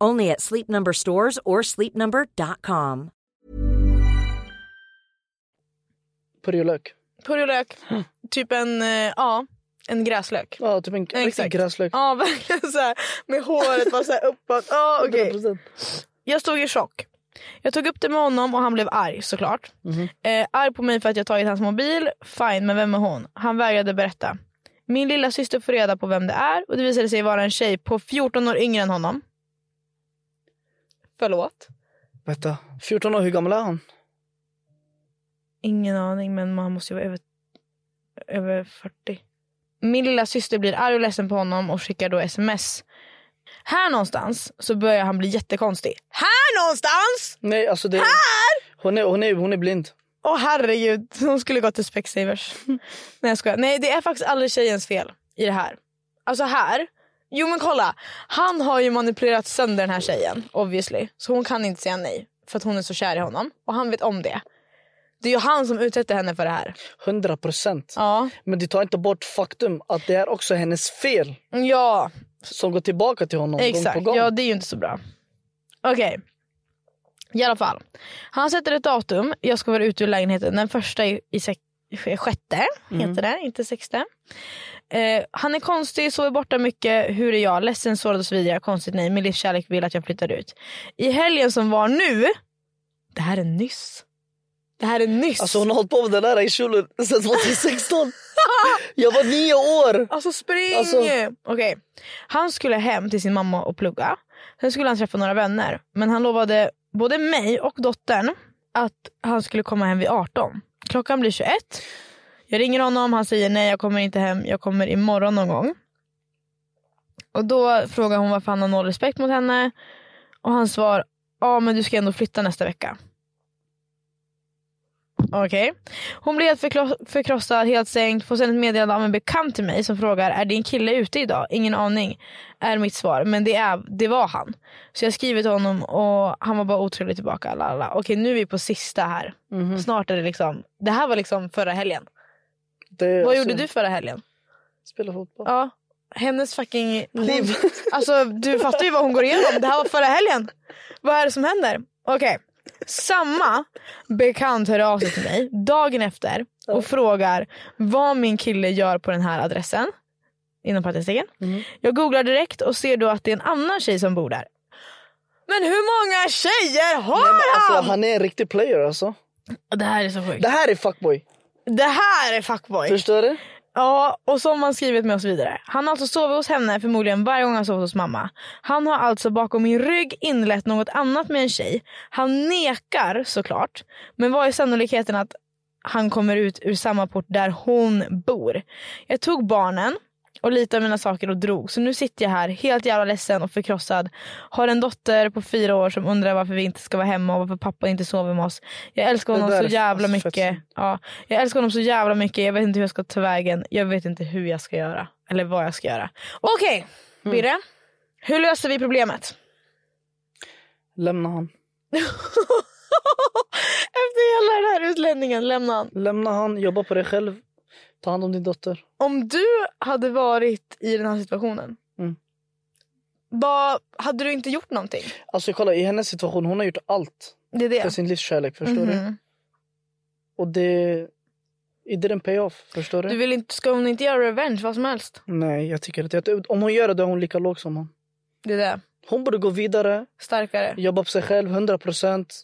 S5: Only at Sleep Number stores or sleepnumber.com.
S2: purjolök.
S1: Purjolök, typ en, eh, ja, en gräslök.
S2: Ja, typ en
S1: Ja,
S2: riktig gräslök.
S1: Ja [laughs] verkligen så här, med håret bara så här uppåt.
S2: [laughs]
S1: Ja okej.
S2: 100%.
S1: Jag stod i chock. Jag tog upp det med honom och han blev arg såklart. Eh, arg på mig för att jag tagit hans mobil. Fine, men vem är hon? Han vägrade berätta. Min lilla syster får reda på vem det är och det visade sig vara en tjej på 14 år yngre än honom. Förlåt?
S2: Vänta, 14 år, hur gammal är han?
S1: Ingen aning men man måste ju vara över, över 40. Min lilla syster blir arg och ledsen på honom och skickar då sms. Här någonstans så börjar han bli jättekonstig. Här någonstans!
S2: Nej, alltså det... Hon är, hon är, hon är blind.
S1: Åh herregud, hon skulle gå till Specsavers. Nej jag skojar. Nej det är faktiskt aldrig tjejens fel i det här. Alltså här. Jo men kolla. Han har ju manipulerat sönder den här tjejen obviously. Så hon kan inte säga nej. För att hon är så kär i honom. Och han vet om det. Det är ju han som utsätter henne för det här.
S2: 100 procent.
S1: Ja.
S2: Men det tar inte bort faktum att det är också hennes fel
S1: Ja
S2: som går tillbaka till honom
S1: exakt.
S2: gång på gång.
S1: Ja det är ju inte så bra. Okej. I alla fall. Han sätter ett datum. Jag ska vara ute ur lägenheten den första i, i sex, sjätte.
S2: Mm.
S1: Heter det, inte sexte. Eh, han är konstig, sover borta mycket. Hur är jag? Ledsen, sårad och så vidare. Konstigt nej. Min livskärlek vill att jag flyttar ut. I helgen som var nu. Det här är nyss. Det här är nyss.
S2: Alltså hon har hållit på med den här i kjolen
S1: [laughs]
S2: sedan 2016. jag var nio år.
S1: Alltså spring!
S2: Alltså-
S1: Okej. Han skulle hem till sin mamma och plugga. Sen skulle han träffa några vänner. Men han lovade både mig och dottern att han skulle komma hem vid 18. Klockan blir 21. Jag ringer honom, han säger nej jag kommer inte hem, jag kommer imorgon någon gång. Och då frågar hon varför han har noll respekt mot henne. Och han svar, ja men du ska ändå flytta nästa vecka. Okej. Hon blir helt förkro- förkrossad, helt sänkt, får sen ett meddelande av en bekant till mig som frågar är din kille ute idag? Ingen aning är mitt svar, men det, är, det var han. Så jag skriver till honom och han var bara otrolig tillbaka. Lalala. Okej nu är vi på sista här. Snart är det liksom, det här var liksom förra helgen.
S2: Det,
S1: Vad
S2: alltså,
S1: gjorde du förra helgen?
S2: Spela fotboll.
S1: Ja, hennes fucking hon-
S2: Liv.
S1: Alltså du fattar ju vad hon går igenom. Det här var förra helgen. Vad är det som händer? Okej. Samma bekant hör av sig till mig dagen efter och frågar vad min kille gör på den här adressen. Inom parentestegen.
S2: Mm.
S1: Jag googlar direkt och ser då att det är en annan tjej som bor där. Men hur många tjejer har
S2: Nej, men
S1: han?
S2: alltså, han är en riktig player alltså.
S1: Det här är så sjukt.
S2: Det här är fuckboy.
S1: Det här är fuckboy.
S2: Förstår du?
S1: Ja, och som han skrivit med oss vidare. Han har alltså sovit hos henne förmodligen varje gång han sovit hos mamma. Han har alltså bakom min rygg inlett något annat med en tjej. Han nekar såklart. Men vad är sannolikheten att han kommer ut ur samma port där hon bor? Jag tog barnen och lite av mina saker och drog. Så nu sitter jag här helt jävla ledsen och förkrossad. Har en dotter på fyra år som undrar varför vi inte ska vara hemma och varför pappa inte sover med oss. Jag älskar
S2: Det
S1: honom
S2: där
S1: så
S2: är
S1: jävla
S2: alltså fett
S1: mycket.
S2: synd.
S1: Ja, jag älskar honom så jävla mycket. Jag vet inte hur jag ska ta vägen. Jag vet inte hur jag ska göra. Eller vad jag ska göra. Okej,
S2: Mm.
S1: Birre. Hur löser vi problemet? [laughs]
S2: Lämna han.
S1: Efter hela den här utlämningen, lämna han.
S2: Lämna han, jobba på dig själv. Ta hand om din dotter.
S1: Om du hade varit i den här situationen,
S2: Mm.
S1: vad, hade du inte gjort någonting?
S2: Alltså kolla, i hennes situation, hon har gjort allt
S1: Det är det.
S2: för sin livskärlek, förstår du?
S1: Mhm.
S2: Och det... It didn't pay off, förstår du?
S1: Du vill inte, ska hon inte göra revenge, vad som helst?
S2: Nej, jag tycker inte. Jag- Om hon gör det, då är hon lika låg som han.
S1: Det är det.
S2: Hon borde gå vidare,
S1: Starkare.
S2: jobba på sig själv 100 procent.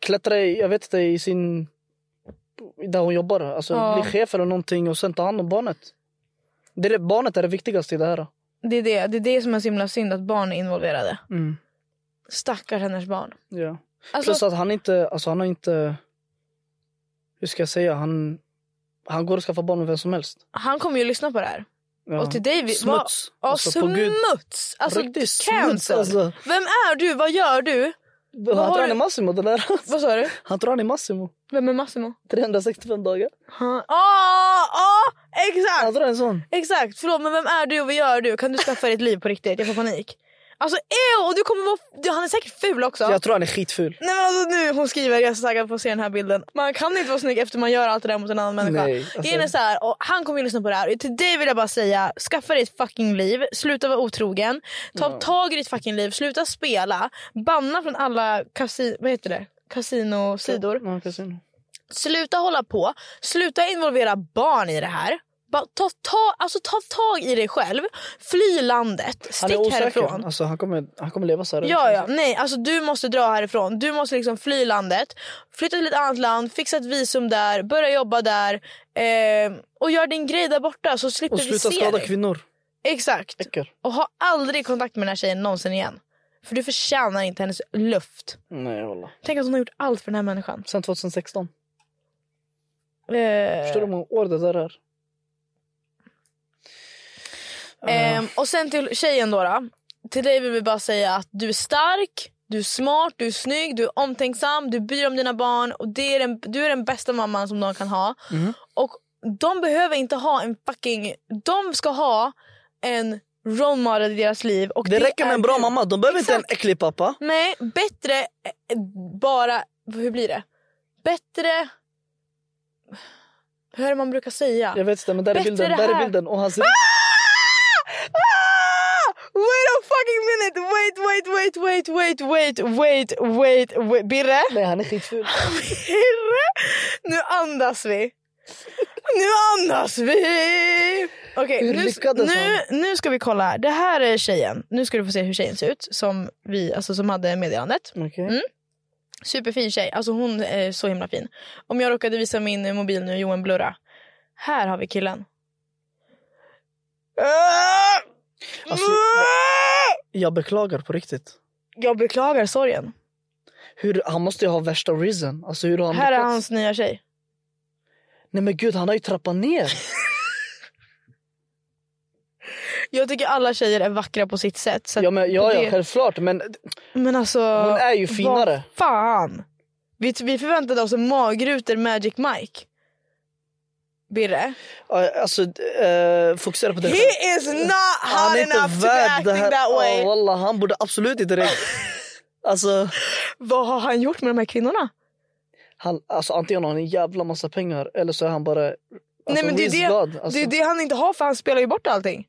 S2: Klättra i, jag vet inte, i sin... Där hon jobbar. Alltså
S1: Ja.
S2: bli chef eller någonting och sen ta hand om barnet. Det är, det- barnet är det viktigaste i det här.
S1: Det är det. det är det som är så himla synd, att barn är involverade.
S2: Mm.
S1: Stackars hennes barn.
S2: Ja.
S1: Alltså,
S2: Plus att han inte, alltså han har inte... Hur ska jag säga? Han, han går och skaffar barn med vem som helst.
S1: han kommer ju lyssna på det här.
S2: Ja.
S1: Och till dig... vi- vad-
S2: Smuts.
S1: Ja,
S2: Alltså, på Gud.
S1: smuts! Alltså,
S2: Riktigt smuts
S1: cancel.
S2: alltså.
S1: Vem är du? Vad gör du?
S2: Han
S1: har
S2: tror
S1: du-
S2: han är Massimo det där.
S1: Vad sa
S2: [laughs]
S1: du?
S2: Han tror han är Massimo.
S1: Vem är Massimo?
S2: 365 dagar.
S1: Ja, ah, ah,
S2: Han
S1: exakt!
S2: tror han är sån.
S1: Exakt! Förlåt, men vem är du och vad gör du? Kan du skaffa dig ett liv på riktigt? Jag får panik. Alltså ew! Och du kommer vara... du, Han är säkert ful också.
S2: Jag tror han är skitful.
S1: Nej men alltså nu, hon skriver, jag är så taggad på att se den här bilden. Man kan inte vara snygg efter man gör allt det där mot en annan människa.
S2: Nej, alltså-
S1: Grejen är så här, och han kommer ju lyssna på det här. Och till dig vill jag bara säga, skaffa dig ett fucking liv. Sluta vara otrogen. Ta tag i ditt fucking liv. Sluta spela. Banna från alla kasi- vad heter det? kasinosidor.
S2: Ja, kasino.
S1: Sluta hålla på. Sluta involvera barn i det här. Bara ta, ta, alltså, ta tag i dig själv. Fly landet.
S2: Han är
S1: Stick
S2: osäker.
S1: härifrån.
S2: Alltså, han, kommer, han kommer leva så här.
S1: Ja, ja. Nej, alltså du måste dra härifrån. Du måste liksom fly landet, flytta till ett annat land, fixa ett visum där, börja jobba där eh, och gör din grej där borta så slipper
S2: Och
S1: vi
S2: sluta
S1: se
S2: skada
S1: dig.
S2: kvinnor.
S1: Exakt.
S2: Äcker.
S1: Och ha aldrig kontakt med den här tjejen någonsin igen. För du förtjänar inte hennes luft.
S2: Nej, hålla.
S1: Tänk att hon har gjort allt för den här människan.
S2: Sen 2016.
S1: Eh,
S2: Förstår du hur många år det där är?
S1: Ehm, och sen till tjejen då, då. Till dig vill vi bara säga att du är stark, du är smart, du är snygg, du är omtänksam, du bryr dig om dina barn. Och det är den, du är den bästa mamman som de kan ha.
S2: Mm.
S1: Och de behöver inte ha en fucking... De ska ha en role model i deras liv. Och
S2: Det räcker med
S1: är
S2: en bra
S1: du.
S2: mamma. De behöver inte en
S1: Exakt.
S2: äcklig pappa.
S1: Nej, bättre eh, bara... Hur blir det? Bättre... Hur är det man brukar säga?
S2: Jag vet inte, men där är
S1: Bättre
S2: bilden.
S1: det
S2: Där är
S1: här.
S2: bilden. Och han ser...
S1: Ah! Wait a fucking minute! Wait, wait, wait, wait, wait, wait, wait, wait, wait.
S2: [laughs]
S1: Birre?
S2: Nej, han är skitful.
S1: Birre? Nu andas vi. Nu andas vi! Okej,
S2: Hur
S1: nu,
S2: lyckades
S1: nu, nu ska vi kolla här. Det här är tjejen. Nu ska du få se hur tjejen ser ut som, vi, alltså, som hade meddelandet.
S2: Okej.
S1: Mm. Superfin tjej. Alltså hon är så himla fin. Om jag råkade visa min eh, mobil nu, Johan blurra. Här har vi killen. Ah!
S2: Alltså,
S1: Ah!
S2: jag beklagar på riktigt.
S1: Jag beklagar sorgen.
S2: Hur, han måste ju ha värsta reason. Alltså, hur har han
S1: Här är
S2: lyckats?
S1: hans nya tjej.
S2: Nej men gud, han har ju trappat ner.
S1: Jag tycker alla tjejer är vackra på sitt sätt. Så att,
S2: Ja, men, ja, ja
S1: det-
S2: självklart. Men äh,
S1: Men alltså,
S2: Hon är ju finare.
S1: Vad fan. Vi, vi förväntade oss en magruter Magic Mike. Birre.
S2: eh, alltså, eh, fokusera på det själv.
S1: He is not hot enough to be
S2: det
S1: acting
S2: här.
S1: that way.
S2: Ja, wallah, han borde absolut
S1: [laughs]
S2: inte det. alltså,
S1: Vad har han gjort med de här kvinnorna?
S2: han, alltså, antingen har han en jävla massa pengar eller så är han bara... Alltså,
S1: Nej, men det, är
S2: whiz
S1: det,
S2: god, alltså.
S1: det är det han inte har för han spelar ju bort allting.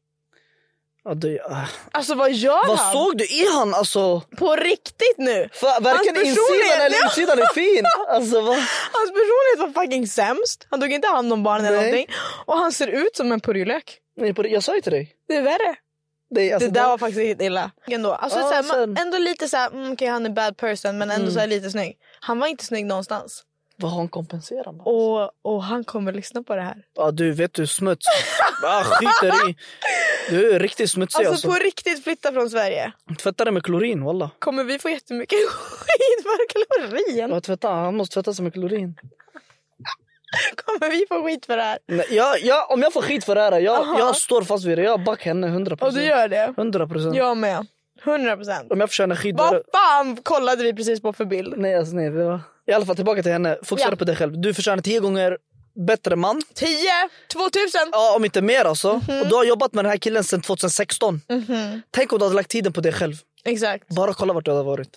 S2: Ja, det, ah.
S1: Alltså vad gör
S2: Vad
S1: han?
S2: såg du i han? Alltså,
S1: På riktigt nu.
S2: för,
S1: Hans
S2: varken
S1: personlighet-
S2: insidan eller
S1: Ja. [laughs]
S2: utsidan är fin. Alltså, va?
S1: Hans personlighet var fucking sämst. Han tog inte hand om barnen eller
S2: Nej.
S1: någonting. Och han ser ut som en purjolök.
S2: Nej, på, det- jag sa ju till dig.
S1: Det är värre.
S2: Det, alltså,
S1: det där var faktiskt riktigt illa. Ändå, alltså,
S2: Ja,
S1: såhär, man,
S2: sen- Mm.
S1: ändå lite såhär, mm, okej, han är bad person men ändå såhär, lite snygg. Han var inte snygg någonstans.
S2: Vad har han kompenserat med?
S1: Och, och han kommer lyssna på det här.
S2: Ja, du, vet
S1: [laughs]
S2: du, smuts. Ah, skiter i. Du är riktigt smutsig.
S1: Alltså,
S2: Alltså,
S1: på riktigt flytta från Sverige.
S2: Tvätta det med klorin, wallah.
S1: Kommer vi få jättemycket [laughs] skit för kalorien?
S2: Ja, tvätta, han måste tvätta sig med klorin.
S1: Kommer vi få skit för det här?
S2: Nej, jag, jag, om jag får skit för det här, jag,
S1: Aha.
S2: jag står fast vid det. Jag backar henne 100
S1: Och du gör det?
S2: 100 procent.
S1: Jag med. 100 procent.
S2: Om jag förtjänar skit... då är
S1: Vad
S2: det-
S1: fan kollade vi precis på för bild?
S2: Nej, alltså, nej. Det var... I alla fall tillbaka till henne. Fokusera
S1: Ja.
S2: på dig själv. Du förtjänar tio gånger bättre man.
S1: 10, 2000!
S2: Ja, om inte mer alltså.
S1: Mhm.
S2: Och du har jobbat med den här killen sedan 2016. Tänk om du hade lagt tiden på dig själv.
S1: Exakt.
S2: Bara kolla vart du hade varit.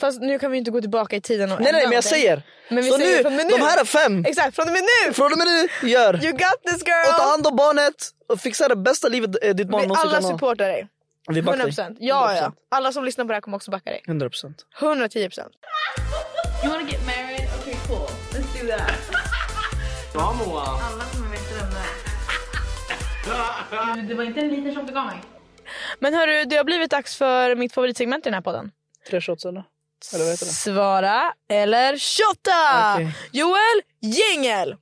S1: Fast nu kan vi inte gå tillbaka i tiden och
S2: Nej, nej,
S1: ändra
S2: men jag
S1: någonting.
S2: säger.
S1: Men vi
S2: Så
S1: säger
S2: nu,
S1: från och med
S2: de
S1: nu.
S2: här är fem.
S1: Exakt, från och med nu!
S2: [laughs] Från och med nu, gör.
S1: You
S2: Och
S1: got this
S2: ta
S1: girl!
S2: hand om barnet och fixa det bästa livet eh, ditt barn
S1: Vi
S2: någonsin
S1: alla
S2: kan ha.
S1: supportar dig.
S2: Vi backar dig.
S1: 100%. Ja, ja. Alla som lyssnar på det här kommer också backa dig.
S2: 100%.
S1: 110%.
S3: You wanna get married? Okay, cool. Let's do that. Oh, Alla kommer veta vem det är. Det var inte en liten som begav mig.
S1: Men hörru, det har blivit dags för mitt favoritsegment i den här podden.
S2: Tre shots eller? Eller vad heter det?
S1: Svara eller shotta!
S2: Okej.
S1: Joel Jingel!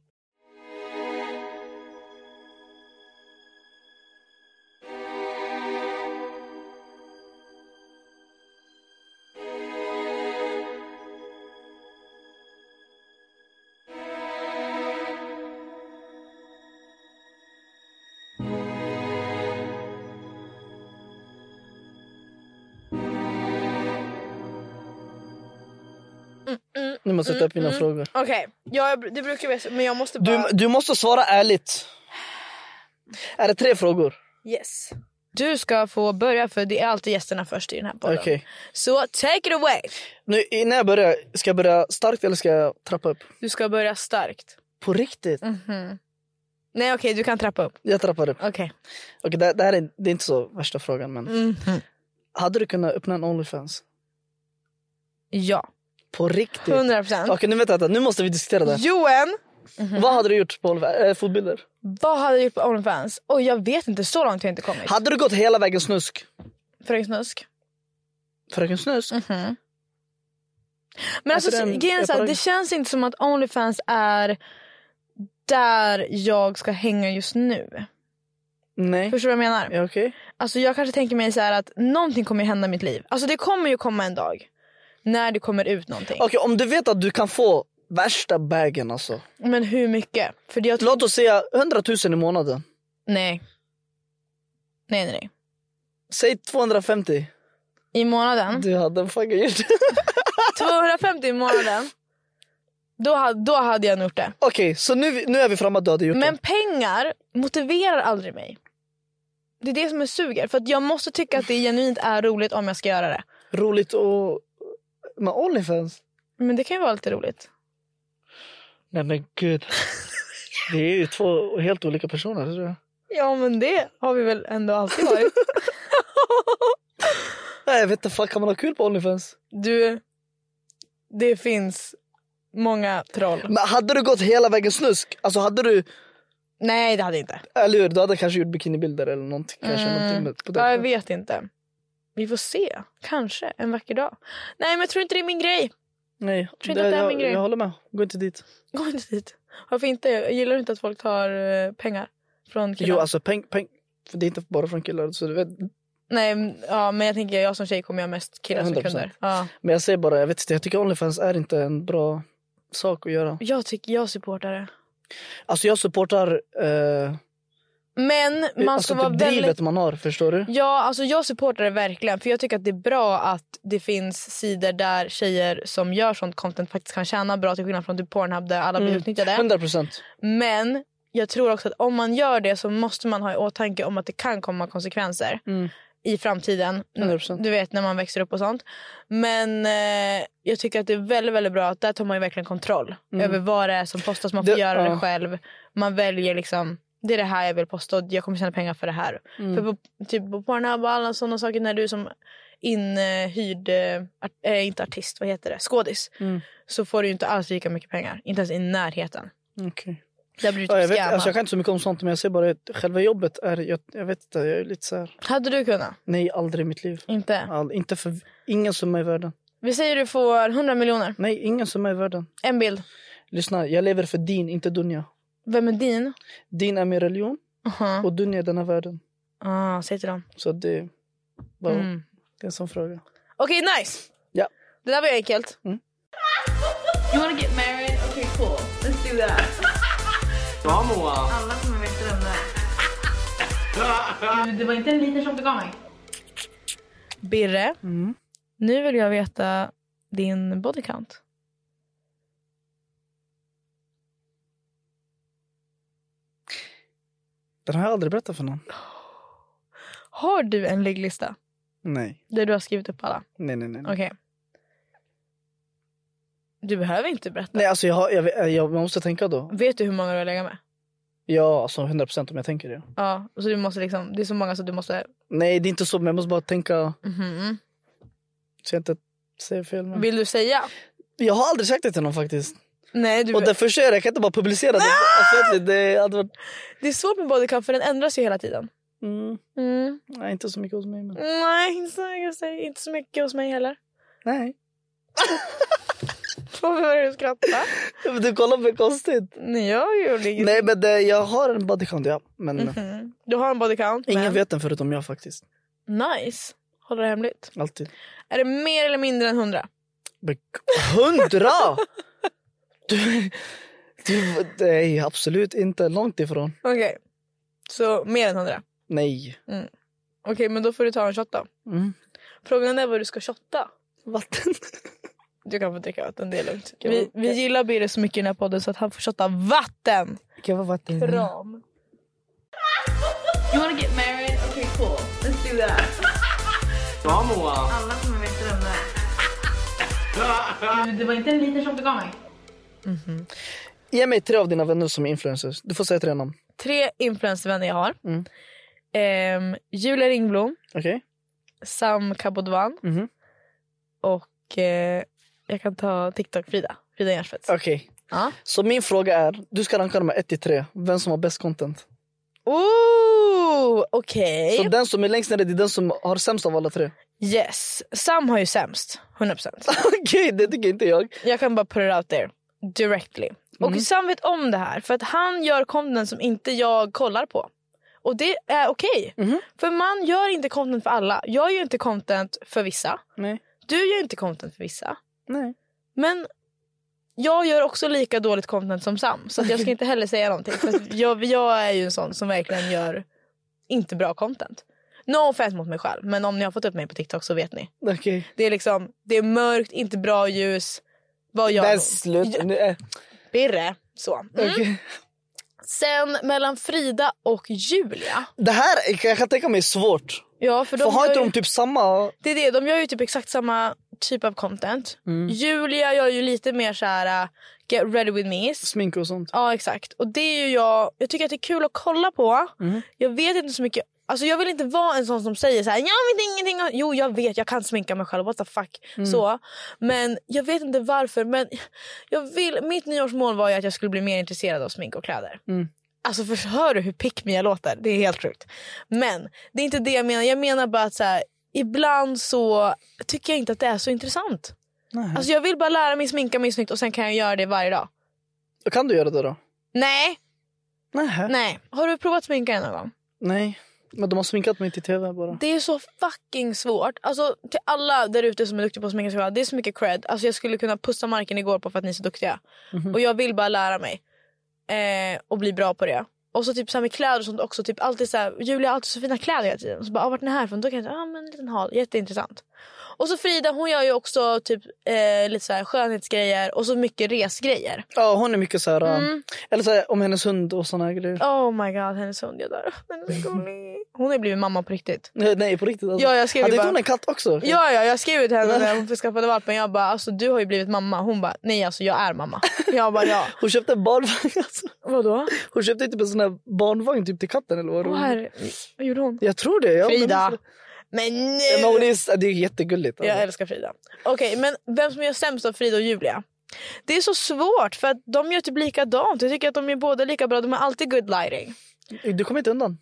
S2: Nu måste jag ta upp mina frågor.
S1: Okej, ja, det brukar vi men jag måste bara...
S2: Du, du måste svara ärligt. Är det tre frågor?
S1: Yes. Du ska få börja för det är alltid gästerna först i den här podden.
S2: Okej.
S1: Så take it away!
S2: Nu Innan jag börjar, ska jag börja starkt eller ska jag trappa upp?
S1: Du ska börja starkt.
S2: På riktigt?
S1: Nej okej, du kan trappa upp.
S2: Jag trappar upp.
S1: Okej.
S2: Okej, det, det här är, det är inte så värsta frågan men. Hade du kunnat öppna en Onlyfans?
S1: Ja.
S2: På riktigt?
S1: 100%.
S2: Okej nu vänta, vänta, nu måste vi diskutera det.
S1: Johan,
S2: Vad hade du gjort på Onlyfans? Eh, fotbilder?
S1: vad hade jag gjort på Onlyfans? Oj, jag vet inte, så långt har jag inte kommit.
S2: Hade du gått hela vägen snusk?
S1: Fröken Snusk.
S2: Fröken Snus?
S1: Men alltså,
S2: Alltså, den-
S1: grejen är
S2: jag
S1: så här,
S2: bara-
S1: det känns inte som att Onlyfans är där jag ska hänga just nu.
S2: Nej.
S1: Förstår du vad jag menar?
S2: Ja, Okej.
S1: Alltså jag kanske tänker mig så här att någonting kommer ju hända i mitt liv. Alltså det kommer ju komma en dag. När det kommer ut någonting.
S2: Okej om du vet att du kan få värsta bagen alltså.
S1: Men hur mycket? För det jag tror...
S2: Låt oss säga 100 000 i månaden.
S1: Nej. Nej nej nej.
S2: Säg 250.
S1: I
S2: [laughs]
S1: månaden.
S2: Du hade fucking gjort det.
S1: 250 i månaden. Då, ha- då hade jag nog gjort det.
S2: [laughs] Okej, så nu, nu är vi framme att du hade gjort
S1: Men
S2: det.
S1: pengar motiverar aldrig mig. Det är det som är suger. För att jag måste tycka att det genuint är roligt om jag ska göra det.
S2: Roligt och... Med Onlyfans?
S1: Men det kan ju vara lite roligt.
S2: Nej men
S1: [laughs]
S2: gud. Det är ju två helt olika personer tror jag.
S1: Ja men det har vi väl ändå alltid varit.
S2: Nej jag vet inte, fan kan man ha kul på Onlyfans?
S1: [laughs] Du, det finns många troll.
S2: Men hade du gått hela vägen snusk? Alltså hade du,
S1: Nej det hade jag inte.
S2: eller hur? Du hade kanske gjort bikinibilder eller någonting. Kanske någonting med, på det.
S1: Mm. Ja, jag vet inte. Vi får se. Kanske en vacker dag. Nej men jag tror inte det är min grej.
S2: Nej,
S1: Tror inte att det är min
S2: jag,
S1: grej.
S2: jag håller med. Gå inte dit.
S1: Gå inte dit. Varför inte? Jag gillar inte att folk tar eh, pengar från killar.
S2: Jo alltså peng, peng. För det är inte bara från killar. Så du vet.
S1: Nej men- ja, men jag tänker jag som tjej kommer jag mest killar som
S2: 100%.
S1: kunder. Ja.
S2: Men jag säger bara, jag vet inte. Jag tycker Onlyfans är inte en bra sak att göra.
S1: Jag tycker jag supportar det.
S2: Alltså jag supportar eh,
S1: Men man
S2: alltså
S1: ska vara
S2: det drivet
S1: väldigt...
S2: man har, förstår du?
S1: Ja, alltså jag supportar det verkligen. För jag tycker att det är bra att det finns sidor där tjejer som gör sånt content faktiskt kan tjäna bra till skillnad från typ Pornhub där alla blir utnyttjade.
S2: 100 Mm. procent.
S1: Men jag tror också att om man gör det så måste man ha i åtanke om att det kan komma konsekvenser
S2: Mm.
S1: i framtiden.
S2: 100%.
S1: Du vet när man växer upp och sånt. Men eh, jag tycker att det är väldigt, väldigt bra att där tar man ju verkligen kontroll över vad det är som postas. Man får
S2: Mm. Det-
S1: göra det
S2: ja.
S1: själv. Man väljer liksom det är det här jag vill posta och jag kommer tjäna pengar för det här.
S2: Mm.
S1: För på, typ på Pornhub och alla sådana saker när du som inhyrd, eh, art, eh, inte artist, vad heter det, skådis.
S2: Mm.
S1: Så får du ju inte alls lika mycket pengar. Inte ens i närheten.
S2: Okej.
S1: Där blir du
S2: Ja, jag,
S1: typ
S2: vet,
S1: scammad.
S2: alltså jag kan inte så mycket om sånt men jag säger bara att själva jobbet är, jag, jag vet inte, jag är lite så här.
S1: Hade du kunnat?
S2: nej aldrig i mitt liv.
S1: Inte?
S2: All, inte för ingen summa i världen.
S1: Vi säger du får 100 miljoner.
S2: Nej, ingen summa i världen.
S1: En bild.
S2: Lyssna, jag lever för din, inte Dunja.
S1: Vem är din?
S2: Din är min religion
S1: Aha.
S2: och Dunja är denna världen.
S1: Ah, säg till dem.
S2: Så det, bara,
S1: Mm.
S2: det är en sån fråga.
S1: Okej, nice!
S2: Ja. Mm.
S1: Det där var ju enkelt.
S3: You wanna get married? Okay, cool. Let's do that. Alla kommer veta vem det är. Det var inte en liten som begav mig.
S1: Birre,
S2: Mm.
S1: nu vill jag veta din body count.
S2: Den har jag aldrig berättat för någon.
S1: Har du en ligglista
S2: Nej,
S1: där du har skrivit upp alla?
S2: nej, nej. nej.
S1: Okej. Du behöver inte berätta.
S2: Nej, alltså jag, har, jag, jag, jag måste tänka då.
S1: Vet du hur många du har legat med?
S2: Ja, alltså 100 procent om jag tänker det.
S1: Ja, så du måste liksom, det är så många så du måste...
S2: Nej, det är inte så, men jag måste bara tänka
S1: Mhm.
S2: så jag inte säger fel. Men...
S1: Vill du säga?
S2: Jag har aldrig sagt det till någon faktiskt.
S1: Nej, du,
S2: Och därför kör jag, jag kan inte bara publicera det offentligt. Det hade varit...
S1: det är svårt med bodycount för den ändras ju hela tiden.
S2: Mm,
S1: Mm.
S2: nej, inte så mycket hos mig. Men...
S1: Nej, inte så, jag säger inte så mycket hos mig [laughs] heller.
S2: Nej.
S1: Varför börjar du skratta?
S2: Men Du kollar på mig konstigt.
S1: Nej, jag gjorde inget.
S2: Nej, men det, jag har en bodycount, ja. Men
S1: Mhm. Du har en bodycount,
S2: ingen
S1: men...
S2: vet den förutom jag faktiskt.
S1: Nice. Håller det hemligt.
S2: Alltid.
S1: Är det mer eller mindre än 100?
S2: Men g-
S1: [laughs]
S2: Hundra! du, du, nej, absolut inte. Långt ifrån.
S1: Okej. Så mer än 100.
S2: Nej.
S1: Okej, men då får du ta en shot då.
S2: Mm.
S1: Frågan är vad du ska shotta.
S2: Vatten.
S1: Du kan få dricka vatten, det är lugnt.
S2: Kan
S1: Vi,
S2: man-
S1: vi gillar Birre så mycket i den här podden så att han får shotta vatten.
S2: Kan vara vatten.
S1: Kram.
S3: You wanna get married? Okay, cool. Let's do that. Oh, Alla kommer veta vem det är. Du, det var inte en liten shot du gav mig.
S2: Ge mig tre av dina vänner som är influencers. Du får säga tre namn.
S1: Tre influencervänner jag har.
S2: Mm.
S1: Ehm, Julia Ringblom,
S2: Okej?
S1: Sam Kabodvan
S2: Mhm.
S1: och eh, jag kan ta TikTok-Frida. Frida Järnspets.
S2: Okej.
S1: Ja.
S2: Så min fråga är, du ska ranka de här 1 till 3. Vem som har bäst content.
S1: Ooh, okej.
S2: Så den som är längst ner det är den som har sämst av alla tre.
S1: Yes. Sam har ju sämst. 100%.
S2: [laughs] Okej, det tycker inte jag.
S1: Jag kan bara put it out there. Directly.
S2: Mm.
S1: Och Sam vet om det här för att han gör content som inte jag kollar på. Och det är okej.
S2: Mhm.
S1: För man gör inte content för alla. Jag gör inte content för vissa.
S2: Nej.
S1: Du gör inte content för vissa.
S2: Nej.
S1: Men jag gör också lika dåligt content som Sam. Så att jag ska inte heller säga någonting. För att jag, jag är ju en sån som verkligen gör inte bra content. No offense mot mig själv. Men om ni har fått upp mig på TikTok så vet ni.
S2: Okej.
S1: Det är liksom, det är mörkt, inte bra ljus. Vad gör
S2: Men
S1: hon?
S2: sluta nu. eh,
S1: Birre. Så. Mm.
S2: okej.
S1: Sen mellan Frida och Julia.
S2: Det här kan jag kan tänka mig är svårt.
S1: Ja, för de
S2: För har
S1: gör
S2: inte
S1: ju,
S2: de typ samma...
S1: det är det, de gör ju typ exakt samma typ av content. Julia gör ju lite mer så här uh, get ready with me.
S2: Smink och sånt.
S1: Ja, exakt. Och det är ju jag, jag tycker att det är kul att kolla på.
S2: Mm.
S1: Jag vet inte så mycket. Alltså jag vill inte vara en sån som säger så här, jag vet ingenting. om-" Jo, jag vet, jag kan sminka mig själv. What the fuck.
S2: Mm.
S1: Så. Men jag vet inte varför. Men jag vill, mitt nyårsmål var ju att jag skulle bli mer intresserad av smink och kläder.
S2: Mm.
S1: Alltså för, hör du hur pick me jag låter? Det är helt sjukt. Men det är inte det jag menar. Jag menar bara att så här, ibland så tycker jag inte att det är så intressant.
S2: Nej.
S1: Alltså jag vill bara lära mig sminka mig snyggt och sen kan jag göra det varje dag.
S2: Kan du göra det då?
S1: Nej,
S2: Nej.
S1: Nej. Har du provat sminka dig någon gång?
S2: Nej. Men de har sminkat mig till tv bara.
S1: Det är så fucking svårt. Alltså till alla där ute som är duktiga på att sminka sig själva, det är så mycket cred. Alltså jag skulle kunna pussa marken igår på för att ni är så duktiga. Och jag vill bara lära mig. Eh, och bli bra på det. Och så typ så här med kläder och sånt också. Typ alltid så här, Julia har alltid så fina kläder hela tiden. Så bara, ah, vart är den här från? Då kan jag säga, ah, men en liten hal. Jätteintressant. Och så Frida, hon gör ju också typ eh, lite så här skönhetsgrejer och så mycket resgrejer.
S2: Ja, hon är mycket så här... um, Eller så här, om hennes hund och såna här grejer.
S1: Oh my god, hennes hund, jag [laughs] dör. Den är så gullig. Hon har blivit mamma på riktigt.
S2: Nej, Nej, på riktigt alltså.
S1: Ja, jag skrev ju
S2: Hade inte
S1: bara-
S2: hon en katt också?
S1: Ja, ja, jag skrev till henne [laughs] när hon skaffade valpen. Jag bara, alltså du har ju blivit mamma. Hon bara, nej alltså jag är mamma. Jag bara, ja.
S2: Hon köpte en barnvagn [laughs] alltså.
S1: [laughs] Vadå?
S2: Hon köpte typ en sån här barnvagn typ till katten eller vad det
S1: Åh,
S2: var.
S1: herre. Vad gjorde hon?
S2: Jag tror det. Ja, men-
S1: Frida. alltså, Men
S2: Ja, Men hon
S1: nu!
S2: är, det är jättegulligt. Alltså.
S1: Jag älskar Frida. Okej, men vem som gör sämst av Frida och Julia? Det är så svårt för att de gör typ likadant. Jag tycker att de är båda lika bra. De har alltid good lighting.
S2: Du kommer inte undan.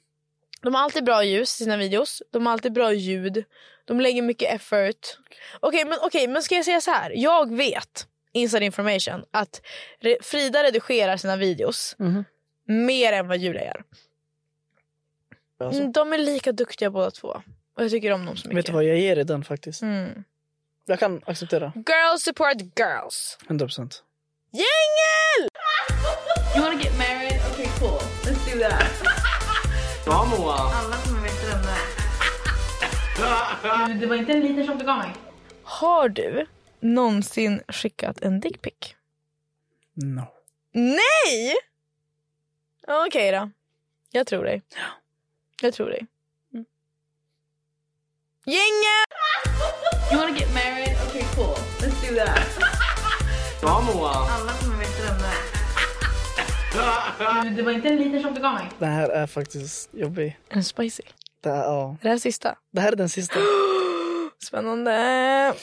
S1: De har alltid bra ljus i sina videos. De har alltid bra ljud. De lägger mycket effort. Okej, men, okej, men ska jag säga så här? Jag vet, inside information, att re- Frida redigerar sina videos
S2: Mhm.
S1: mer än vad Julia gör.
S2: Alltså.
S1: Mm, De är lika duktiga båda två. Och jag tycker om dem så mycket.
S2: Vet du vad, jag ger dig den faktiskt.
S1: Mm.
S2: Jag kan acceptera.
S1: Girls support girls.
S2: 100 procent.
S1: Gänget!
S3: You wanna get married? Okay, cool. Let's do that. Oh, Alla kommer veta vem det är. Du, det var inte en liten shot du gav mig.
S1: Har du någonsin skickat en dickpic?
S2: No.
S1: Nej! Okej då. Jag tror dig. Jag tror dig. Mm. Gänget!
S3: You wanna get married? Okay, cool. Let's do that.
S6: Vamos!
S3: Alla kommer veta vem det är. Men Det var inte en liten som du gav mig.
S2: Den här är faktiskt jobbig.
S1: En spicy.
S2: Det här, ja.
S1: Det här sista.
S2: det här är
S1: [gasps]
S2: den sista.
S1: Spännande.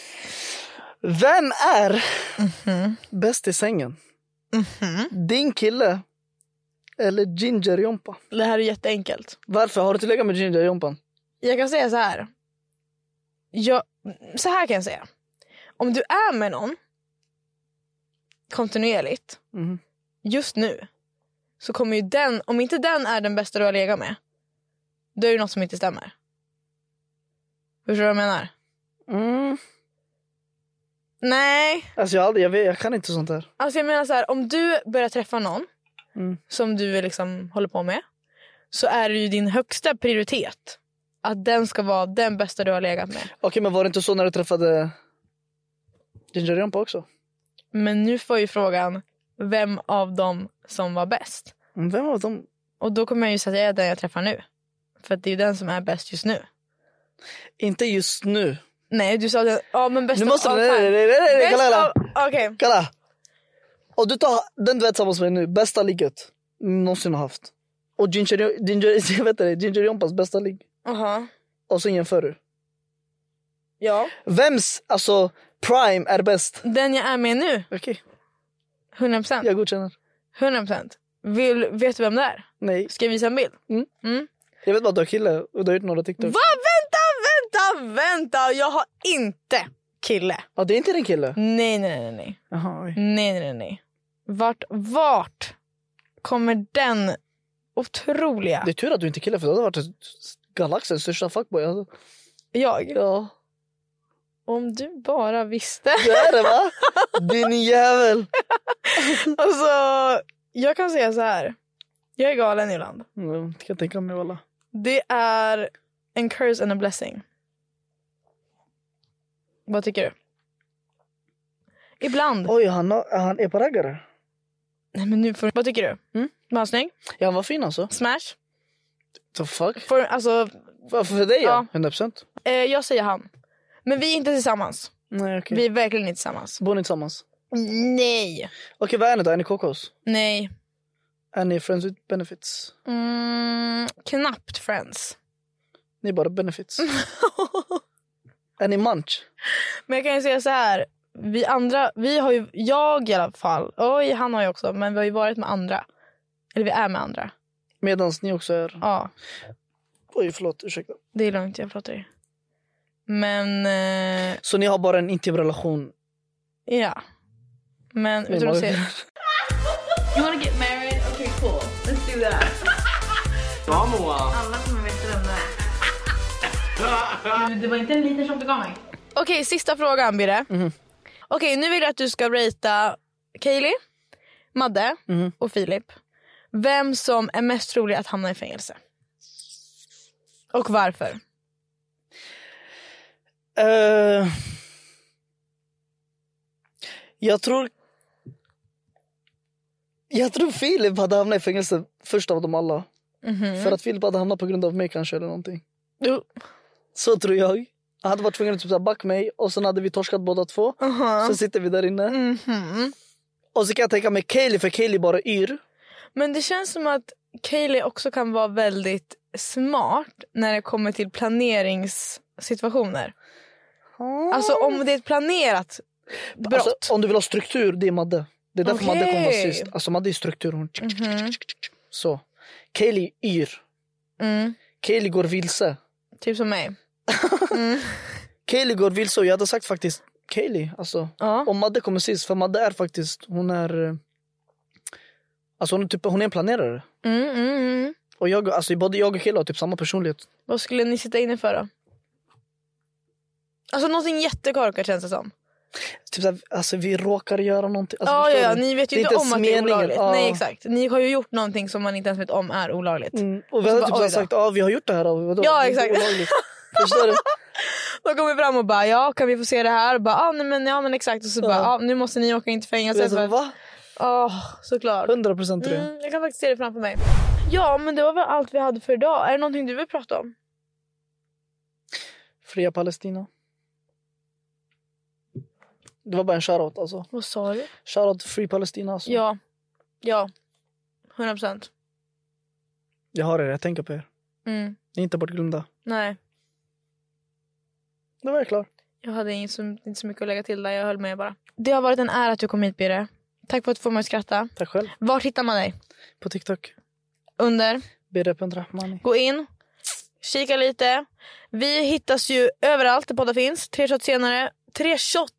S2: Vem är
S1: Mhm.
S2: bäst i sängen? Din kille eller Ginger Jompa?
S1: Det här är jätteenkelt.
S2: Varför? Har du inte legat med Ginger Jompan?
S1: Jag kan säga så här. Jag, så här kan jag säga. Om du är med någon kontinuerligt
S2: Mhm.
S1: just nu så kommer ju den, om inte den är den bästa du har legat med då är det något som inte stämmer. Förstår du vad jag menar?
S2: Mm.
S1: Nej,
S2: Alltså jag, har aldrig, jag, vet, jag kan inte sånt här.
S1: Alltså jag menar så här, om du börjar träffa någon
S2: Mm.
S1: som du liksom håller på med så är det ju din högsta prioritet att den ska vara den bästa du har legat med.
S2: Okej men var det inte så när du träffade Ginger Jompa också?
S1: Men nu får ju frågan vem av dem som var bäst.
S2: Mm, Vem av dem?
S1: Och då kommer jag ju säga den jag träffar nu. För att det är ju den som är bäst just nu.
S2: Inte just nu.
S1: Nej, du sa den, ja men bäst
S2: Nu måste
S1: av
S2: du...
S1: all
S2: Nej, nej,
S1: time.
S2: nej, nej, nej,
S1: Bäst
S2: Kalala.
S1: av... Okej,
S2: Kalla. Och du tar den du är tillsammans med nu, bästa ligget ni någonsin har haft. Och Ginger, Ginger, [laughs] jag vet inte, Ginger Jompas bästa ligg.
S1: jaha.
S2: Och sen jämför du.
S1: Ja.
S2: Vems alltså prime är bäst?
S1: Den jag är med nu,
S2: Okej,
S1: 100%.
S2: jag godkänner.
S1: 100%. Vill, vet du vem det är?
S2: Nej, Mm.
S1: Ska jag visa en bild? Mm.
S2: jag vet bara att du har kille och du har gjort några TikTok.
S1: Va? Vänta, vänta, vänta! Jag har inte kille.
S2: Ja, det är inte din kille?
S1: Nej, nej, nej, nej.
S2: Jaha, oj.
S1: Nej, nej, nej, nej. Vart, vart kommer den otroliga...
S2: Det är tur att du inte är kille för då hade du varit galaxens största fuckboy. Alltså.
S1: Jag?
S2: Ja.
S1: Om du bara visste.
S2: Det är det va? Din jävel!
S1: [laughs] Alltså, jag kan säga så här. Jag är galen ibland.
S2: Mm, kan jag tänka mig walla.
S1: Det är en curse and a blessing. Vad tycker du? Ibland.
S2: Oj, han, har- han är på raggare.
S1: Nej, men nu får... Vad tycker du? Mm? Var han snygg?
S2: Ja, han var fin alltså.
S1: Smash?
S2: The fuck?
S1: Får, alltså,
S2: För, för dig ja,
S1: Ja.
S2: 100%.
S1: Eh, jag säger han. Men vi är inte tillsammans.
S2: Nej okej.
S1: Vi är verkligen inte tillsammans.
S2: Bor ni tillsammans?
S1: Nej.
S2: Okej vad är ni då? Är ni kokos?
S1: Nej.
S2: Är ni friends with benefits?
S1: Mm, knappt friends.
S2: Ni är bara [laughs] benefits. är ni munch?
S1: [laughs] Men jag kan ju säga så här. Vi andra, vi har ju, jag i alla fall, oj han har ju också, men vi har ju varit med andra. Eller vi är med andra.
S2: Medans ni också är...
S1: Ja,
S2: Oj förlåt, ursäkta.
S1: det är lugnt, jag pratar ju. Men, eh,
S2: Så ni har bara en intim relation?
S1: ja. Men,
S2: med
S1: vet du vad jag
S2: Malin?
S1: säger?
S3: You wanna get married? Okay, cool. Let's do that.
S6: Vamos!
S3: Alla kommer veta vem det är. [laughs] Men Det var inte en liten som du gav mig.
S1: Okej, sista frågan Birre. Okej, nu vill jag att du ska ratea Kaeli, Madde och Filip. Vem som är mest trolig att hamna i fängelse. Och varför.
S2: Eh, jag tror... Jag tror Filip hade hamnat i fängelse först av dem alla. För att Filip hade hamnat på grund av mig kanske eller någonting.
S1: Jo.
S2: Så tror jag. Han hade varit tvungen att typ så här backa mig och sen hade vi torskat båda två. Så sitter vi där inne. Och så kan jag tänka mig Kaeli för Kaeli bara yr.
S1: Men det känns som att Kaeli också kan vara väldigt smart när det kommer till planeringssituationer. Alltså om det är ett planerat brott.
S2: Alltså, om du vill ha struktur, det är Madde. Det är därför
S1: Okej. Mhm.
S2: Madde kommer vara sist. Alltså Madde är struktur. Hon... Så. Kaeli yr.
S1: mm,
S2: Kaeli går vilse.
S1: typ som mig.
S2: Kaeli går vilse och jag hade sagt faktiskt Kaeli. Alltså.
S1: Ja.
S2: Och Madde kommer sist för Madde är faktiskt, hon är... eh, Alltså hon är, typ, hon är en planerare.
S1: Mm, mm, mm.
S2: Och jag, alltså både jag och Kaeli har typ samma personlighet.
S1: Vad skulle ni sitta inne för då? Alltså någonting jättekorkat känns det som.
S2: Typ såhär, alltså vi råkar göra någonting. Alltså,
S1: ja, ja,
S2: förstår
S1: ja,
S2: du?
S1: ni vet ju
S2: Det är
S1: inte om
S2: ens
S1: att det är
S2: meningen.
S1: olagligt.
S2: Ja.
S1: Nej exakt. Ni har ju gjort någonting som man inte ens vet om är olagligt.
S2: Mm. Och vi hade
S1: Alltså, bara,
S2: typ så här
S1: oj då.
S2: sagt, ja vi har gjort det här. Och vadå?
S1: Ja,
S2: Det är inte
S1: exakt.
S2: olagligt. Förstår
S1: [laughs]
S2: du?
S1: De kommer fram och bara ja kan vi få se det här? Och bara, ah, nej, men, ja men exakt och så bara ah, nu måste ni åka in till fängelse.
S2: Alltså,
S1: för-
S2: va?
S1: Åh, såklart.
S2: 100 procent tror jag.
S1: Mm, jag kan faktiskt se det framför mig. Ja, men det var väl allt vi hade för idag. Är det någonting du vill prata om?
S2: Fria Palestina. Det var bara en shoutout alltså.
S1: Vad sa du?
S2: Shoutout till Free Palestina alltså.
S1: Ja. Ja. 100 procent.
S2: Jag har er, jag tänker på er.
S1: Mm.
S2: Ni är inte bortglömda.
S1: Nej,
S2: Det var jag klar.
S1: jag hade inte så, inte så mycket att lägga till där. Jag höll med bara. Det har varit en ära att du kom hit, Birre. Tack för att du får mig att skratta.
S2: Tack själv.
S1: Vart hittar man dig?
S2: På TikTok.
S1: Under.
S2: Birre.Rahmani.
S1: Gå in. Kika lite. Vi hittas ju överallt där poddar finns. Tre shots senare. Tre shots.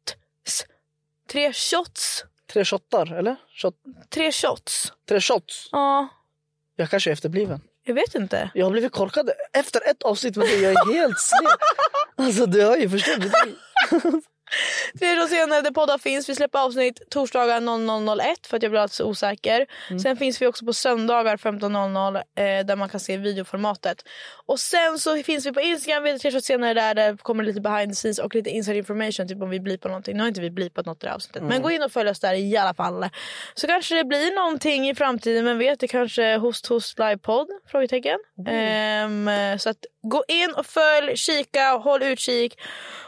S1: Tre shots.
S2: Tre shottar, eller? Shot.
S1: Tre shots.
S2: Tre shots.
S1: Ja,
S2: Jag kanske är efterbliven.
S1: jag vet inte.
S2: Jag har blivit korkad efter ett avsnitt med dig. Jag är helt [laughs] sned. Alltså du har ju förstört mitt liv.
S1: Tre shots senare där poddar finns. Vi släpper avsnitt torsdagar 00.01 för att jag blir alltid så osäker. Sen finns vi också på söndagar 15.00 eh, där man kan se videoformatet. Och sen så finns vi på Instagram, vi heter tre shots senare där. Där kommer lite behind the scenes och lite inside information. Typ om vi blipar någonting. Nu har inte vi blipat något i det här avsnittet. Men gå in och följ oss där i alla fall. Så kanske det blir någonting i framtiden. Vem vet, det kanske host host livepodd? Frågetecken. Ehm, så att gå in och följ, kika, håll utkik.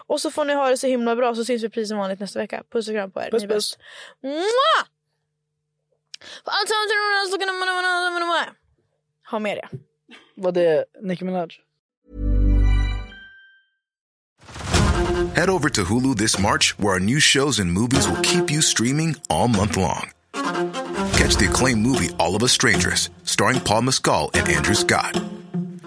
S1: Och så får ni ha det så himla bra så syns vi precis som vanligt nästa vecka. Puss och kram på er.
S2: Puss,
S1: Ni är bäst. Mwah! För allt annat är det någon som kan- Ha med det.
S2: Var det Nicki Minaj?
S7: Head over to Hulu this March, where our new shows and movies will keep you streaming all month long. Catch the acclaimed movie All of Us Strangers, starring Paul Mescal and Andrew Scott.